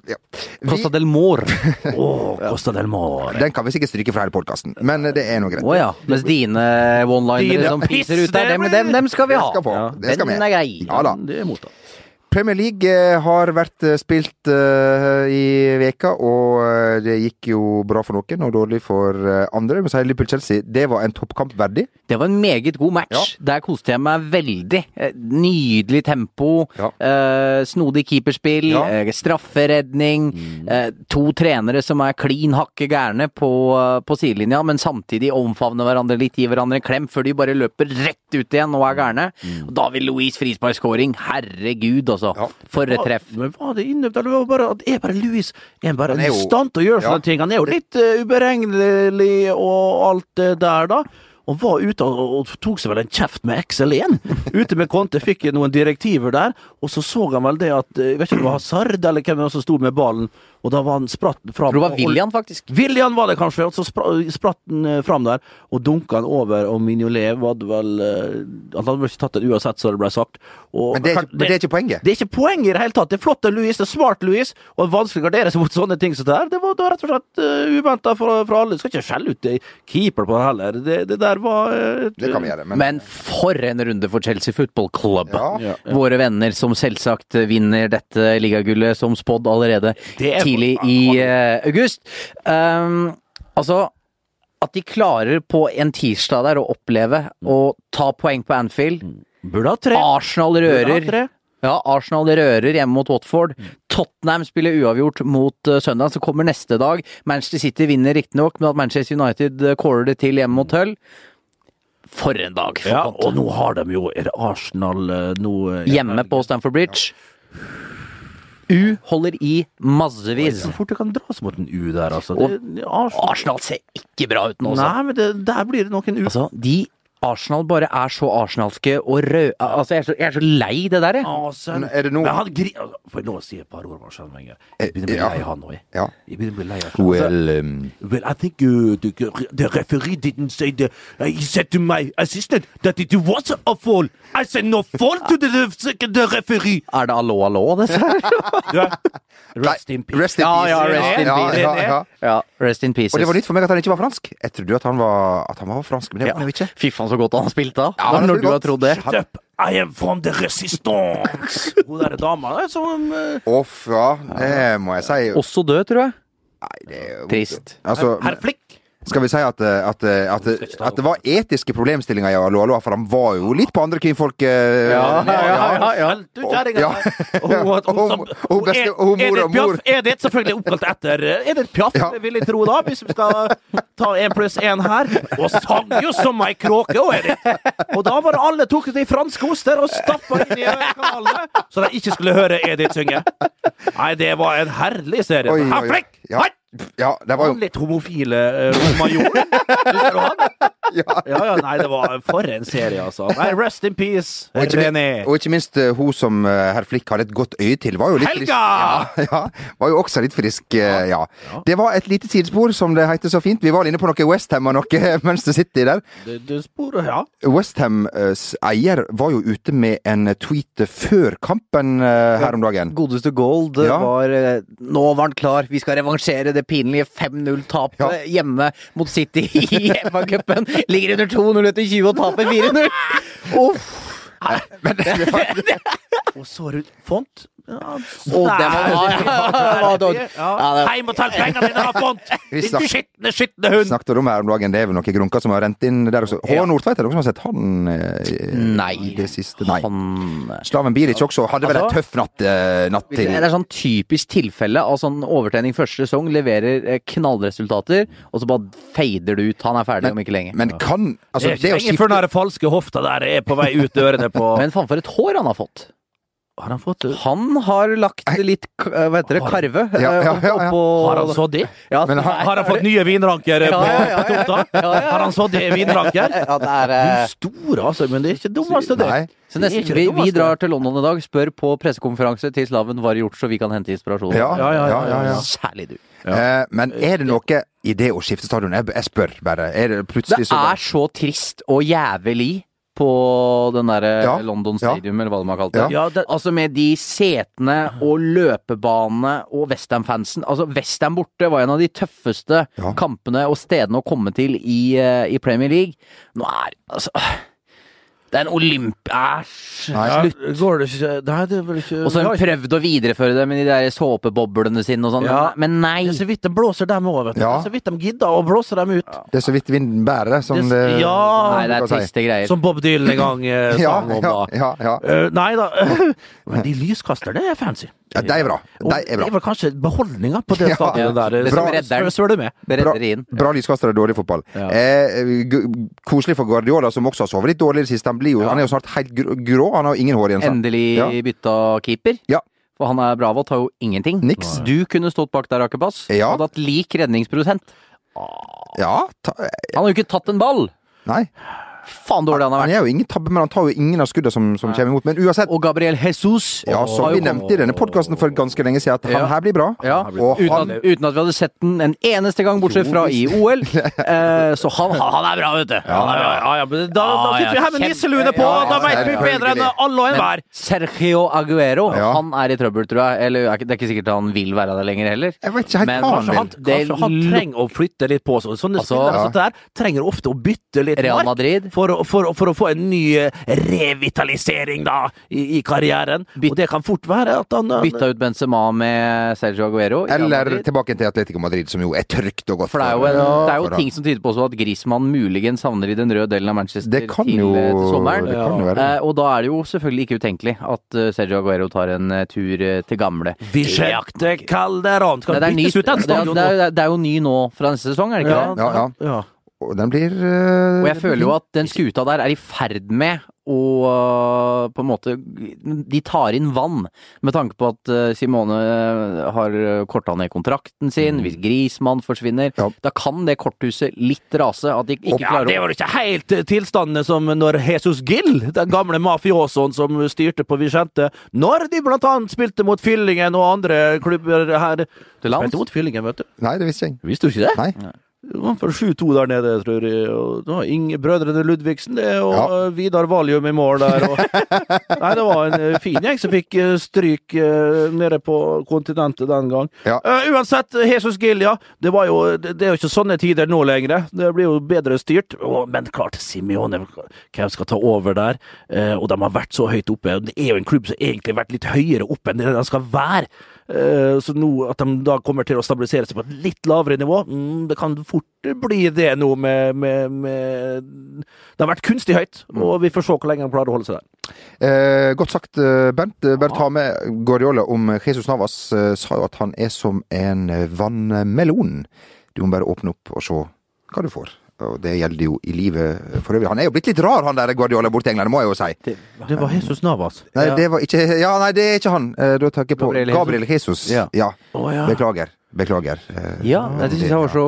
C: ja.
D: Costa del Mor.
A: Å, Costa del Mar.
C: Den kan vi sikkert stryke fra hele podkasten, men det er nå greit.
D: Å ja. Mens dine
A: Dine
D: one-linere som fiser ut der, dem, dem, dem skal vi
C: Det
D: ha.
C: skal på.
D: Ja.
C: Det skal
D: Den
C: med.
D: er grei.
C: Ja da.
A: Det er mottatt.
C: Premier League eh, har vært eh, spilt eh, i veka, og eh, det gikk jo bra for noen og dårlig for eh, andre. Men så er Liverpool-Chelsea det var en toppkamp verdig.
D: Det var en meget god match. Der koste jeg meg veldig. Eh, Nydelig tempo,
C: Ja.
D: eh, snodig keeperspill,
C: Ja. Mm.
D: eh, strafferedning. Eh, to trenere som er klin hakke gærne på, eh, på sidelinja, men samtidig omfavner hverandre litt, gir hverandre en klem før de bare løper rett ut igjen og er gærne. Og da vil Louise frisparkskåring. Herregud, altså.
C: Mm. Ja.
D: For et treff.
A: Men var det inne eller var det bare at er bare Louis er bare i
C: er jo-
A: stand til å gjøre
C: ja.
A: sånne ting? Han er jo litt eh, uberegnelig og alt det der, da. Og var ute og, og tok seg vel en kjeft med XL1. Ute med Conte fikk noen direktiver der, og så så han vel det at eh, Jeg vet ikke om det var Hazard eller hvem det var som sto med ballen, og da var han spratt fram.
D: Jeg tror det var
A: og-
D: William, faktisk.
A: William var det kanskje, og så spra, spratt han eh, fram der og dunka han over, og Mignolet hadde vel eh, Han hadde vel ikke tatt den uansett, så det ble sagt. Og,
C: Men det er ikke, men det er ikke poenget.
A: det er ikke poenget i det hele tatt. Det er flott av Louis, det er smart Louis, og vanskelig å gardere seg mot sånne ting som det her. Det var da rett og slett uh, uventa fra, fra alle. Skal ikke skjelle ut eh, keeper på det heller. Det, det der var eh, et-
C: Det kan vi gjøre, men,
D: Men for en runde for Chelsea Football Club.
A: Ja,
C: Ja.
D: Våre venner som selvsagt vinner dette ligagullet som spådd allerede
A: Det er-
D: tidlig i eh, august. Um, altså at de klarer på en tirsdag der å oppleve å ta poeng på Anfield.
A: Burde ha tre.
D: Arsenal
A: Burde ha
D: rører.
A: tre.
D: Ja, Arsenal rører hjemme mot Watford. Tottenham spiller uavgjort mot uh, søndag, så kommer neste dag. Manchester City vinner riktignok, men at Manchester United uh, caller det til hjemme mot Hull For en dag! For
A: Ja,
D: Conte.
A: og nå har de jo Er det Arsenal eh, nå eh,
D: hjemme på Stamford Bridge. U holder i massevis.
A: Så fort det kan dras mot en U der, altså.
D: Og-
A: Det, det- Arsenal
D: Arsenal ser ikke bra ut nå, altså.
A: Nei, men det, der blir det nok en U.
D: altså de Arsenal bare er så arsenalske og røde Altså, jeg er så, jeg er så lei det der, jeg.
A: Arsenal.
C: Men er det noe-
A: Men han gri... altså, Får jeg lov å si et par ord om Arsenal Wenger? Jeg begynner å bli
C: Ja.
A: lei han òg, jeg.
C: Ja.
A: Jeg begynner å bli lei av Arsenal.
C: Well,
D: Altså-
C: um,
A: Well, I think uh, the, the referee didn't say the. Uh, he said to my assistant that it was a fall. I said no fall to the, the, the referee.
D: Er det allo, allo, dette her?
A: Ja. Rest in peace.
C: Rest in
D: Ja,
C: peace.
D: ja, rest in peace.
C: Ja, ja, ja.
D: Ja, rest in pieces.
C: Og det var nytt for meg at han ikke var fransk. Jeg trodde jo at han var, at han var fransk, men det
D: Ja.
C: var han jo ikke.
D: Fy faen, så godt han spilte da.
C: Ja, han
D: Når
C: spilte
D: du har
C: godt.
D: trodd det.
C: Han-
A: Up. I am from the resistance. Hun derre dama der som eh,
C: Off, ja. Det må jeg si.
D: Også død, tror jeg.
C: Nei, det er jo
D: Trist.
C: Altså,
A: Herr Flick.
C: skal vi si at, eh, at, eh, at, eh, at det var etiske problemstillinger i Hallo, hallo, for han var jo litt på andre kvinnfolk eh,
A: Du, kjerringa!
C: Ja.
A: Og hun- og hun-
C: Og hun- og hun beste- og hun mor
A: Edith
C: og mor.
A: Piaf, Edith, selvfølgelig oppkalt etter eh, Edith Piaf,
C: Ja.
A: vil jeg tro, da, hvis vi skal ta én pluss én her. Og sang jo som ei kråke, og Edith! Og da var det alle tok det i franske oster og stappa inn i kanalene, så de ikke skulle høre Edith synge. Nei, det var en herlig serie.
C: Oi, oi, oi.
A: Herr Frekk!
C: Ja,
A: Hei!
C: ja, det var jo
A: Han litt homofile uh, majoren. Husker du han? Ja, ja, nei, det var for en serie, altså. Nei, rest in peace,
C: Og ikke,
A: René.
C: minst, og ikke minst eh, hun som eh, herr Flick hadde et godt øye til, var jo litt
A: Helga!
C: frisk. Ja, ja, var jo også litt frisk, eh, ja. Det var et lite sidespor, som det heter så fint. Vi var inne på noe Westham og noe eh, Mønster City der.
A: Du, du spor, ja.
C: Westhams eier var jo ute med en tweet før kampen eh, her om dagen.
D: Godeste Gold
C: Ja.
D: var eh, Nå var han klar, vi skal revansjere det pinlige 5-0-tapet
C: Ja.
D: hjemme mot City i FA-cupen. Ligger under 2-0 etter 20 og taper 4-0. Uff.
A: Og så rundt font. Ja,
D: Og det var- ja, ja, ja, ja, det var- ja, det var-
A: Heim og tell pengene dine, da, font!
C: Vi
A: Din
C: snakker-
A: skitne, skitne hund!
C: Snakket om her om dagen, det er vel noen grunker som har rent inn der også. Håvard Nordtveit, er det noen som har sett han eh, i-
D: Nei.
C: i det siste? Nei.
D: Han
C: Slaven Biric også hadde vel en
D: Altså-
C: tøff natt, eh, natt
D: Det
C: til.
D: er sånn typisk tilfelle av sånn overtrening første sesong, leverer eh, knallresultater, og så bare fader det ut. Han er ferdig om ikke lenge.
C: Men kan altså,
A: det er ikke
C: å
A: lenge før den der falske hofta der er på vei ut ørene på
D: Men faen for et hår han har fått.
A: Har han fått det?
D: Han har lagt litt k- eh, hva heter det, karve eh,
C: Ja, ja, ja, ja.
D: oppå
A: Har han sådd det?
D: Ja,
C: Men
D: nei,
A: Har han fått nye vinranker på
D: Ja, ja, ja, ja.
A: på tomta?
D: Ja, ja, ja.
A: Har han sådd det i vinranker?
D: ja, det er eh,
A: Store, altså, men det er ikke dummeste, det.
C: Nei.
D: Så nesten,
A: Det er ikke altså.
D: vi,
A: det
D: vi
A: dummeste.
D: drar til London i dag, spør på pressekonferanse til Slaven hva har gjort så vi kan hente inspirasjon.
C: Ja, ja, ja, ja, ja.
D: Særlig du.
C: Eh, men er det noe i det å skifte stadion? Jeg, jeg spør bare. Er det
D: Det
C: plutselig så
D: er så trist og jævlig på den derre
C: Ja,
D: London
C: ja.
D: Stadium, eller hva de har kalt det.
A: Ja, det,
D: Altså med de setene og løpebanene og Westham-fansen. Altså Westham borte var en av de tøffeste
C: Ja.
D: kampene og stedene å komme til i, eh, i Premier League. Nå er altså Det er en olymp... Æsj!
C: Nei.
A: ja, går det ikke Nei, det er vel ikke
D: Og så
A: Vi
D: har
A: har
D: hun prøvd å videreføre det med de der såpeboblene sine og sånn,
A: Ja.
D: men nei.
A: Det er så vidt de blåser dem òg, vet du.
C: Ja.
A: Det er Så vidt de gidder å blåse dem ut.
C: Det er så vidt vinden bærer, som
A: Det-
C: det
A: ja.
D: Nei, det er
C: Hva sier jeg?
D: triste greier.
A: Som Bob Dylan en gang eh,
C: ja,
A: sang om,
C: ja,
A: da.
C: ja, ja.
A: Eh, nei da, men de lyskasterne er fancy.
C: ja. De er bra.
A: Og
C: De er
A: Det
C: bra.
A: var kanskje beholdninga på det
C: Ja.
A: stadionet der. eh,
D: Det som
A: Bra.
D: redder den.
A: Svøl du med?
C: Bra,
D: Beredder inn.
C: bra lyskastere, dårlig fotball. Eh, g- koselig for Guardiola, som også har sovet litt dårlig i det siste. Han, blir jo, han er jo snart helt gr- grå. Han har jo ingen hår igjen. sant?
D: Endelig
C: Ja.
D: bytta keeper.
C: Ja.
D: For han er Bravo tar jo ingenting.
C: Niks.
D: Du kunne stått bak der, Akebass.
C: Ja.
D: Hadde hatt lik redningsprosent.
C: ja ta, eh,
D: Han har jo ikke tatt en ball!
C: nei.
D: Faen dårlig han har
C: Han
D: vært.
C: er jo ingen tabbe, men han tar jo ingen av skuddene som, som kommer imot. Men uansett,
D: Og Gabriel Jesus
C: ja, som vi
D: har jo kommet-
C: nevnte i denne podkasten for ganske lenge siden, at han
D: Ja.
C: her blir bra.
D: ja,
C: Og
D: uten,
C: han-
D: at, uten at vi hadde sett den en eneste gang, bortsett fra i OL. Eh, så han, han er bra, vet du. Han er bra.
A: Ah, Ja, ja, men da, da
D: Ja, ja,
A: sitter vi her med
D: kjempe-
A: nisseluene på,
D: Ja,
A: og da
C: ja,
A: veit vi bedre enn
C: selvfølgelig.
A: alle og enhver!
D: Sergio Aguero,
C: Ja.
D: han er i trøbbel, tror jeg. Eller er ikke- det er ikke sikkert han vil være der lenger heller.
C: Jeg vet ikke helt
D: Men
C: hva
D: kanskje
C: han
A: Han,
C: vil.
D: Det
A: kanskje han
D: lukter-
A: trenger å flytte litt på seg. Sånne
D: Altså,
A: spillere
D: ja.
A: som det der trenger ofte å bytte litt
D: Real
A: mark
D: Madrid.
A: for, å- for, å- for å få en ny eh, revitalisering da, i, i karrieren. Og det kan fort være at han han-
D: Bytta ut Benzema med Sergio Aguero. i Real
C: Eller
D: Madrid.
C: tilbake til Atletico Madrid, som jo er trygt og godt.
D: For det er jo, en,
C: for-
D: det er jo
C: for-
D: ting som tyder på også at Griezmann muligens havner i den røde delen av Manchester
C: Det kan
D: til, eh,
C: jo,
D: til sommeren.
C: det kan jo være.
D: Eh, og da er det jo selvfølgelig ikke utenkelig at eh, Sergio Aguero tar en eh, tur eh, til gamle.
A: Vi skjønte Calderón! Skal
D: Nei, det, er ny,
A: byttes ut den
D: det, er,
A: stadion
D: det,
A: nå?
D: er, det er jo ny nå fra neste sesong, er det ikke det?
C: Ja, ja.
A: ja.
C: Og den blir eh,
D: Og jeg føler jo at den skuta der er i ferd med å øh, på en måte De tar inn vann, med tanke på at øh, Simone øh, har øh, korta ned kontrakten sin. Hvis Grismann forsvinner,
C: Mm. Ja.
D: da kan det korthuset litt rase. At de ikke
A: Ja,
D: klarer
A: det
D: å
A: var jo ikke helt eh, tilstandene som når Jesus Gill, den gamle mafiosoen som styrte på Vicente, når de blant annet spilte mot Fyllingen og andre klubber her
D: Til lands?
A: Spilte mot Fyllingen, vet du.
C: Nei, det visste jeg ikke.
A: Visste du ikke det?
C: Nei.
A: Han får 7-2 der nede, tror jeg. Og det var Inge, brødrene Ludvigsen det, og
C: Ja.
A: eh, Vidar Valium i mål der. Og... Nei, det var en eh, fin gjeng som fikk eh, stryk eh, nede på kontinentet den gang.
C: Ja.
A: Eh, uansett, Jesus Gilja, det, var jo, det, det er jo ikke sånne tider nå lenger. Det blir jo bedre styrt. Å, men klart, Simione, hvem skal ta over der? Eh, og de har vært så høyt oppe. Det er jo en klubb som egentlig har vært litt høyere oppe enn det den skal være. Eh, Eh, Så nå at de da kommer til å stabilisere seg på et litt lavere nivå, mm, det kan fort bli det nå med, med, med Det har vært kunstig høyt, og vi får se hvor lenge de klarer å holde seg der.
C: Eh, godt sagt, eh, Bent. Eh, Bare ta med Guardiola om Jesus Navas. Eh, sa jo at han er som en eh, vannmelon. Du må bare åpne opp og se hva du får. Og det gjelder jo i livet eh, for øvrig. Han er jo blitt litt rar, han der Guardiola borti England, det må jeg jo si.
A: Det var Jesus altså. Navas.
C: Nei, det var ikke Ja, nei, det er ikke han. Eh, da tenker jeg på
D: Gabriel
C: Gabriel,
D: Jesus.
C: Jesus.
D: Ja.
C: Ja.
A: Å, ja.
C: Beklager. Beklager. Eh,
D: Ja, jeg synes han var så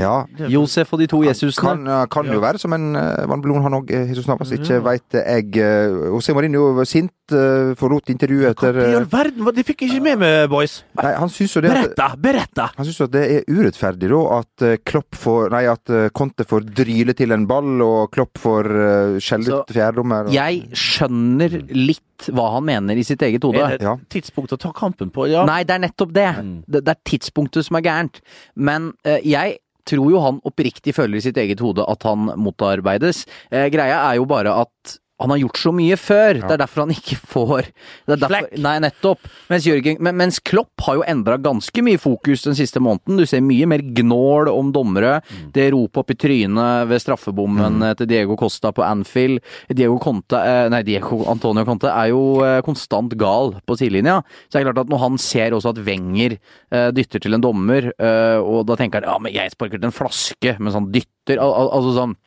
C: ja.
D: Josef og de to Jesusene.
C: Kan, kan jo være som en eh, vannmelon, han òg, Jesus Navas.
D: Mm.
C: Ikke veit jeg. eh, José Mourinho var sint, eh, forlot intervjuet etter
A: I
C: eh,
A: all verden, hva- det fikk jeg ikke med meg, boys.
C: Nei, han syns jo det at,
A: Beretta, beretta!
C: han syns jo at det er urettferdig, da, at eh, Klopp får Nei, at eh, Conte får dryle til en ball, og Klopp får eh, skjelle ut fjerdommer. og-
D: Jeg skjønner litt hva han mener i sitt eget hode.
A: Er det Mm.
C: Ja.
A: et tidspunkt å ta kampen på? Ja.
D: Nei, det er nettopp det. det. Det er tidspunktet som er gærent. Men eh, jeg tror jo han oppriktig føler i sitt eget hode at han motarbeides. Eh, greia er jo bare at han har gjort så mye før. Det er derfor han ikke får det er derfor,
A: Slack.
D: Nei, nettopp. Mens, Jørgen, men, mens Klopp har jo endra ganske mye fokus den siste måneden. Du ser mye mer gnål om dommere. Det ropet opp i trynet ved straffebommen eh, til Diego Costa på Anfield. Diego Conte, eh, nei, Diego Antonio Conte er jo eh, konstant gal på sidelinja. Så det er klart at når han ser også at Wenger eh, dytter til en dommer, eh, og da tenker han ja, men jeg sparker til en flaske mens han dytter. Al al altså sånn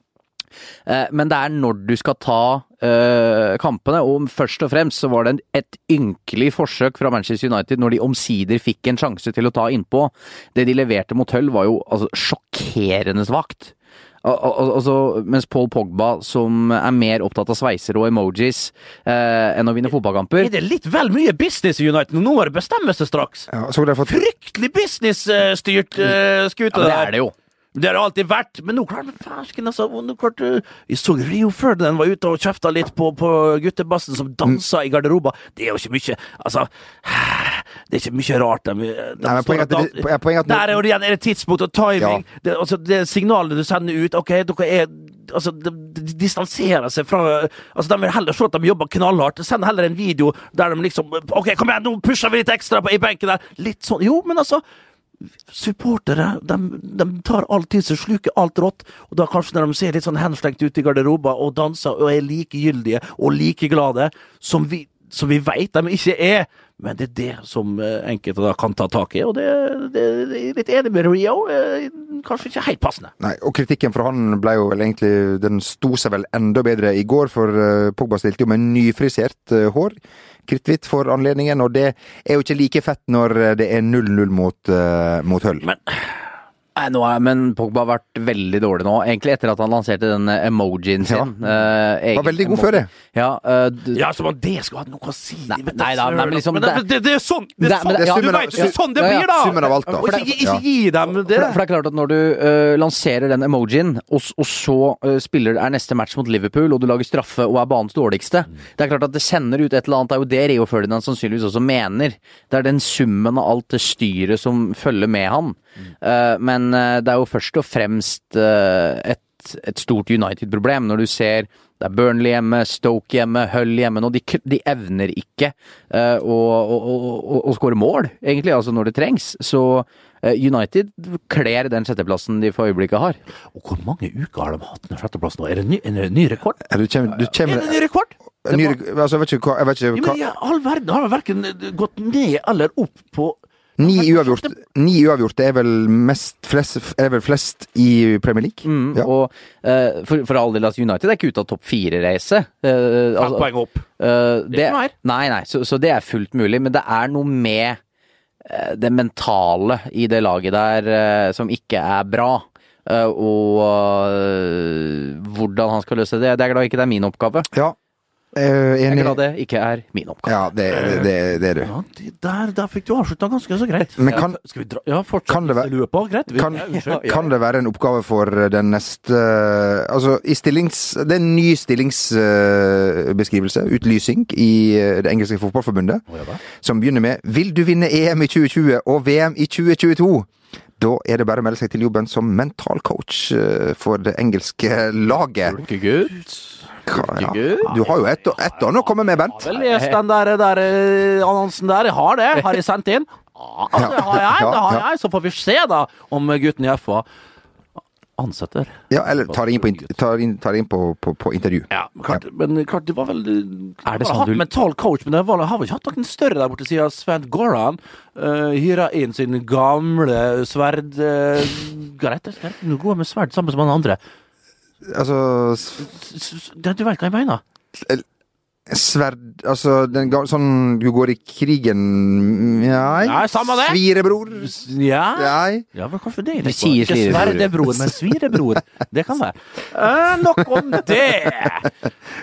D: Eh, Men det er når du skal ta eh, kampene, og først og fremst så var det en, et ynkelig forsøk fra Manchester United når de omsider fikk en sjanse til å ta innpå. Det de leverte mot Hull var jo altså, sjokkerende svakt. Al- al- Altså, mens Paul Pogba, som er mer opptatt av sveiser og emojis eh, enn å vinne fotballkamper
A: Er det litt vel mye business i United? Nå må det bestemme seg straks!
C: Ja, så har de fått
A: Fryktelig businessstyrt uh, skute.
D: ja, men Det er det jo.
A: Det har det alltid vært, men nå klarte fersken altså, og nå klarte, Jeg så Rio Ferdinand var ute og kjefta litt på, på guttebassen som dansa i garderoba. Det er jo ikke mye Altså Det er ikke mye rart. De, de
C: Nei, men
A: står
C: poenget
A: og
C: at det-
A: dan-
C: poenget at-
A: Der er jo det igjen er det tidspunkt og timing. Det, altså, det signalet du sender ut OK, dere er Altså, de, de distanserer seg fra Altså, De vil heller se at de jobber knallhardt. Send heller en video der de liksom OK, kom igjen, nå pusher vi litt ekstra på, i benken der. Litt sånn Jo, men altså supportere de, de tar all tid, så sluker alt rått. Og da kanskje når de ser litt sånn henslengt ut i garderoba og danser og er likegyldige og like glade som vi, som vi veit de ikke er. Men det er det som eh, enkelte da kan ta tak i, og det, det, det er litt enig med Rio. eh, Kanskje ikke helt passende.
C: Nei, og kritikken fra han ble jo vel egentlig Den sto seg vel enda bedre i går, for eh, Pogba stilte jo med nyfrisert eh, hår. Kritthvitt for anledningen, og det er jo ikke like fett når eh, det er 0-0 mot, eh, mot Hull.
A: Men
D: Nei, nå er, men Pogba har vært veldig dårlig nå. Egentlig etter at han lanserte den emojien sin. eh,
C: Var
D: egen
C: veldig god
D: emoji.
C: før det.
D: Ja, eh, d-
A: ja, som om det skulle ha noe å si!
D: Nei,
A: vet du,
D: nei da, nei, men liksom,
A: men det, det, det er sånn det er
D: Nei, men
A: sånn,
D: det- ja,
A: du
C: summen av-
A: vet, det er sånn det
D: ja, ja.
A: blir, da!
C: Summen av alt, da.
A: Og ikke, ikke gi dem det.
D: For, det- for det er klart at når du eh, lanserer den emojien, og, s- og så eh, spiller er neste match mot Liverpool, og du lager straffe og er banens dårligste Det er klart at det sender ut et eller annet. Det er jo det Rio Ferdinand sannsynligvis også mener. Det er den summen av alt det styret som følger med han. Eh, men eh, det er jo først og fremst eh, et, et stort United-problem når du ser det er Burnley hjemme, Stoke hjemme, Hull hjemme nå. De, k- de evner ikke eh, å, å, å, å, å skåre mål, egentlig, altså når det trengs. Så eh, United kler den sjetteplassen de for øyeblikket har.
A: Og hvor mange uker har de hatt den sjetteplassen nå? Er det ny, en ny rekord?
C: Ja, Du kommer, du
A: Er
C: kommer
A: det en ny rekord?
C: ny, altså, jeg vet ikke hva, jeg vet
A: Ja,
C: ikke
A: men
C: hva
A: i all verden har vel verken gått ned eller opp på
C: Ni uavgjort, ni uavgjort er, vel mest, flest, er vel flest i Premier League? Mm, ja.
D: Og eh, for, for all del, altså United er ikke ute av topp fire-racet. Uh,
A: Fem poeng opp.
D: det,
A: ikke noe her.
D: nei, nei, så, så det er fullt mulig, men det er noe med eh, det mentale i det laget der eh, som ikke er bra. Eh, og eh, hvordan han skal løse det, det er glad ikke det er min oppgave.
C: ja. Eh,
D: Jeg er
C: enig.
D: glad det ikke er min oppgave.
C: Ja, det, det, det, det er du.
A: Ja, det der, der fikk du avslutta ganske så greit.
C: Men kan-
A: Skal vi dra Ja, fortsatt
C: kan det være-
A: lue på? Greit. Vi,
C: Kan,
A: ja, unnskyld.
C: kan det være en oppgave for den neste Altså, i stillings... Det er en ny stillingsbeskrivelse, utlysing, i eh, det engelske fotballforbundet, som begynner med 'Vil du vinne EM i 2020 og VM i 2022?' Da er det bare å melde seg til jobben som mentalcoach eh, for det engelske laget.
A: Ikke gutt.
C: Hva- ja. Du har jo ett og- ett år nå å komme med, Bent.
A: Vel, les den der, der eh, annonsen der. Jeg har det. Har jeg sendt inn? Ja, altså, det har jeg. Det har jeg. Så får vi se, da, om gutten i FA ansetter.
C: Ja, eller tar det inn på, int- tar inn, tar det inn på, på, på intervju.
A: Ja, men klart, men klart det var vel
D: Er
A: Er
D: det
A: det
D: sånn
A: hatt
D: du-
A: mental coach, men det var, har vel ikke hatt noen større der borte siden Sven Goran uh, hyra inn sin gamle sverd uh, Greit, det er ikke noe gode med sverd sammen som han andre.
C: Altså s-
A: S- s- det- Du veit hva jeg mener?
C: Sverd Altså, den ga, sånn du går i krigen Nei.
A: Nei, samme det.
C: Svirebror.
A: Ja,
C: Nei.
A: ja vel, hvorfor det?
D: Du sier
A: Ikke
D: svirebror.
A: sverdebror, men svirebror. Det kan være. Eh, nok om det!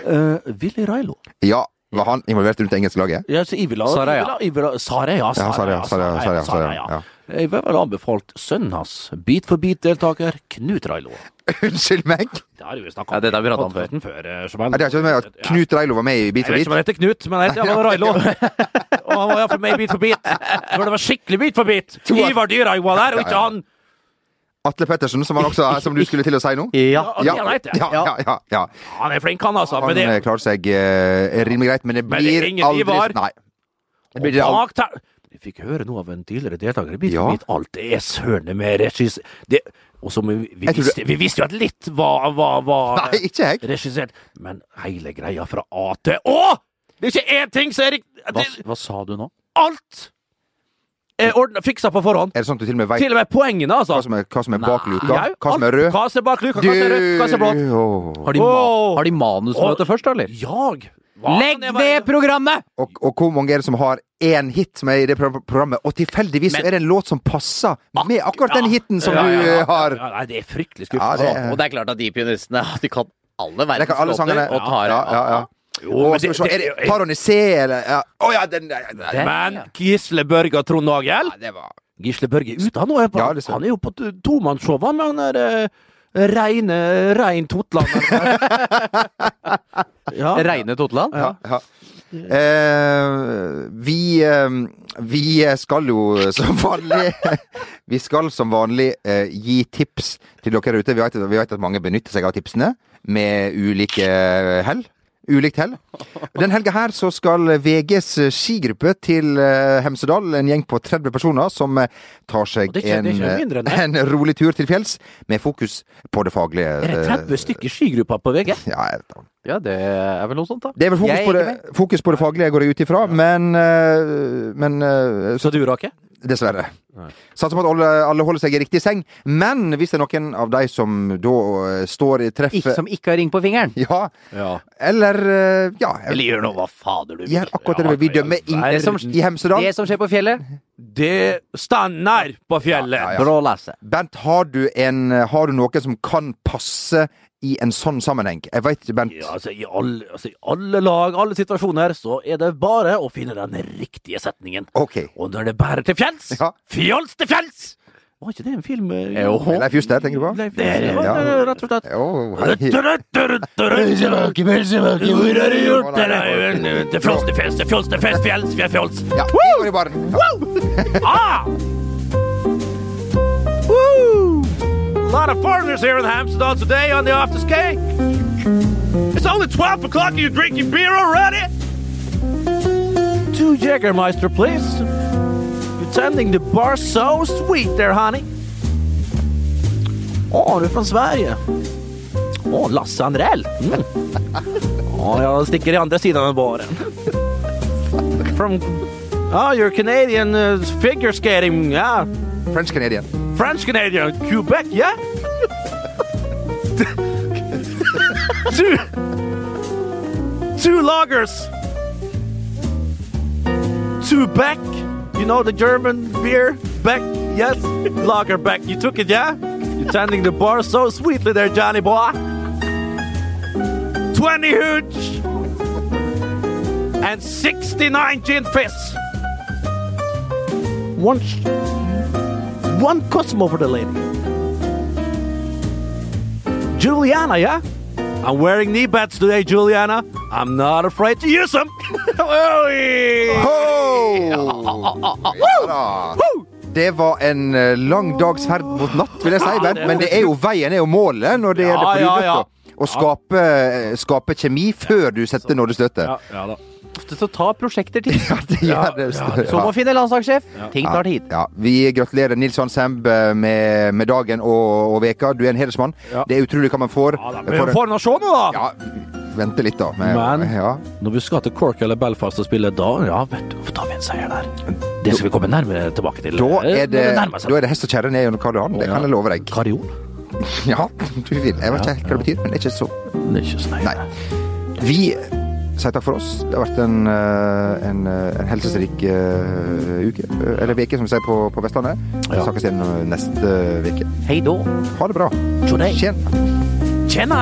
A: Uh, Willy Railo.
C: Ja, var han involvert rundt det engelske laget?
A: Ja, så jeg vil ha,
D: Sara,
A: jeg
D: ja.
A: vil ha- jeg vil ha- Sara, ja. Sara, ja.
C: Sara, ja, Sara, ja, Sara, ja, Sara, ja.
A: Jeg vil vel anbefalt sønnen hans, bit for bit-deltaker Knut Railo.
C: Unnskyld meg!
A: Det har vi snakka
D: Ja, dette har vi pratet om
A: podcasten før. eh, Sjoman.
C: Ja, Det er ikke med at Knut Reilo var med i
A: Jeg
C: Bit for
A: vet ikke
C: bit.
A: om han heter Knut, men han heter iallfall Railo. Og han var iallfall med i Bit for bit. For det var skikkelig bit for bit. Ivar Dyrhaug var der, og ikke han.
C: Atle Pettersen, som, han også, som du skulle til å si nå?
D: Ja.
A: Ja, det vet jeg.
C: ja, ja, ja, ja.
A: Han er flink, han, altså.
C: Han
A: Men det
C: eh, klarer seg eh, rimelig greit, men det
A: Men det er
C: blir
A: ingen
C: aldri
A: Ivar.
C: Nei. Det blir det aldri.
A: bak der Vi fikk høre noe av en tidligere deltaker i Bit
C: Ja.
A: for bit. Alt det er søren med regissør... Det... Og som vi, vi,
C: Jeg tror det-
A: visste, vi visste jo at litt var, var, var
C: Nei, ikke jeg.
A: regissert, men hele greia fra A til Å! Det er ikke én ting som er riktig!
D: Hva,
A: Det-
D: hva sa du nå?
A: Alt er ordna, fiksa på forhånd.
C: Er det sånn at du til og med veit
A: Til og med poengene, altså.
C: hva som er, hva som er bak luka?
A: Jeg-
C: Hva som er
A: alt-
C: rød?
A: Hva som er bak luka, hva som er rødt, hva som er blått.
C: Åh.
D: Har de, ma
A: Åh!
D: har de manusmøte først, da, eller?
A: Jag.
D: Legg ved programmet!
C: Og, og hvor mange er det som har én hit med i det pro- programmet, og tilfeldigvis så er det en låt som passer med akkurat den hiten som du eh, har?
A: Ja, nei, det er fryktelig skuffende.
C: Ja,
A: altså.
C: det er
D: Og det er klart at de pianistene de kan alle
C: Det
D: verdens
C: kan alle sangene.
D: låter. Og tar,
C: ja, ja, ja.
A: Jo,
C: Åh,
A: men
C: skal vi
A: det-
C: se, er
A: det-
C: det Taron C, eller ja. Å ja, den nei, nei,
D: Det-
A: Men Gisle Børge og Trond Nagel
C: nei, det var
A: Gisle Børge er ute, han nå. Er på,
C: Ja, liksom. det ser-
A: han er jo på t- tomannshow, han med han der eh, reine Rein Totland. ja.
D: Reine Totland?
C: Ja. ja. Eh, vi, eh, vi skal jo som vanlig Vi skal som vanlig eh, gi tips til dere ute. Vi vet, vi vet at mange benytter seg av tipsene med ulike hell. Ulikt hell. Den helga her så skal VGs skigruppe til eh, Hemsedal, en gjeng på 30 personer, som eh, tar seg
A: det er ikke- det er ikke
C: en,
A: mindre enn
C: eh, en rolig tur til fjells med fokus på det faglige.
A: Er det 30 stykker skigrupper på VG?
C: Eh, Ja, jeg vet da.
D: Ja, det er vel noe sånt, da.
C: Det er vel fokus,
D: Jeg
C: på
D: er
C: det, fokus på det faglige, går jeg ut ifra, men, eh, men eh,
A: Så du, Rake?
C: Dessverre. Satser på at alle, alle holder seg i riktig seng. Men hvis det er noen av de som da eh, står i
D: Ikke,
C: treffet
D: som ikke har ring på fingeren.
C: Ja,
A: Ja.
C: eller eh, Ja.
A: Eller gjør nå hva fader du vil.
C: Gjør akkurat det du vil. Vi dømmer
A: Det som-
C: ingen i Hemsedal.
D: Det som skjer på fjellet,
A: Det stander på fjellet.
C: Ja, ja.
D: brå lasse.
C: Bent, har du, en, eh, har du noe som kan passe i en sånn sammenheng? Jeg veit, Bent.
A: Ja, altså, i alle, altså, I alle lag, alle situasjoner, så er det bare å finne den riktige setningen.
C: Ok.
A: Og når det bærer til fjells,
C: Ja.
A: fjols til fjells! Var ikke det en film? eh,
D: Jo.
A: Johan?
C: Leif Juster, tenker du på?
A: Leif Juster,
C: Ja.
A: ja, det er rett og slett.
C: Jo, hei.
A: Pølsebakke, pølsebakke, hvor har du gjort det? Det er Fjols til fjells, det er fjols til fjells, fjells, vi er fjols.
C: Ja, vi går i baren. Ja.
A: Ah! Woo! A lot of foreigners here in Hamsterdam today on the after skate. It's only 12 o'clock and you're drinking beer already? Two Jägermeister, please. You're tending the bar so sweet there, honey. Åh, du är från Sverige. Åh, Lasse Andrell. Mm. Åh, jag sticker i andra sidan av baren. From... Oh, you're Canadian uh, figure skating. Ah, Yeah.
C: French Canadian.
A: French Canadian, Quebec, yeah? two, two lagers, two Beck, you know the German beer, Beck, yes, lager Beck. You took it, yeah? You're tending the bar so sweetly there, Johnny boy. 20 hooch and 69 gin fizz. One sh- one Cosmo for the lady. Juliana, yeah? I'm wearing knee pads today, Juliana. I'm not afraid to use them. Oi!
C: Ho! Ja da. det var en eh, lang dags ferd mot natt, vil jeg si. Men, men det er jo veien er jo målet når det
A: Ja,
C: gjelder på
A: ja, ja.
C: lufta. Å skape, eh, skape kjemi før du setter nådestøtet.
A: Ja, ja da.
D: Ofte så tar prosjekter tid.
C: Det gjør det.
D: Så må finne landslagssjef. Ting tar tid.
C: Ja, vi gratulerer Nils Hans Hemb med, med dagen og, og veka. Du er en hedersmann. Det er utrolig hva man får.
A: Ja, da.
C: For-
A: Men får han å se nå, da!
C: ja, vente litt, da. med-
B: Men-
C: ja.
B: Når vi skal til Cork eller Belfast og spille da, ja, vet du, da tar vi en seier der. Det skal vi komme nærmere tilbake til.
C: Da
B: eh,
C: er
B: når
C: det,
B: nærmer seg.
C: da er det hest og kjerre ned gjennom Karl Johan. Det kan jeg love deg.
B: Karion?
C: Ja, du vil. Jeg vet ikke helt hva det betyr, men det er ikke så
B: Det er ikke så
C: Nei. Vi sier takk for oss. Det har vært en, eh, en, eh, en helserik eh, uke. eh, Eller veke, som vi sier på, på Vestlandet. Vi snakkes igjen eh, neste uke.
D: Hei då.
C: Ha det bra. Tjen.
A: Tjena!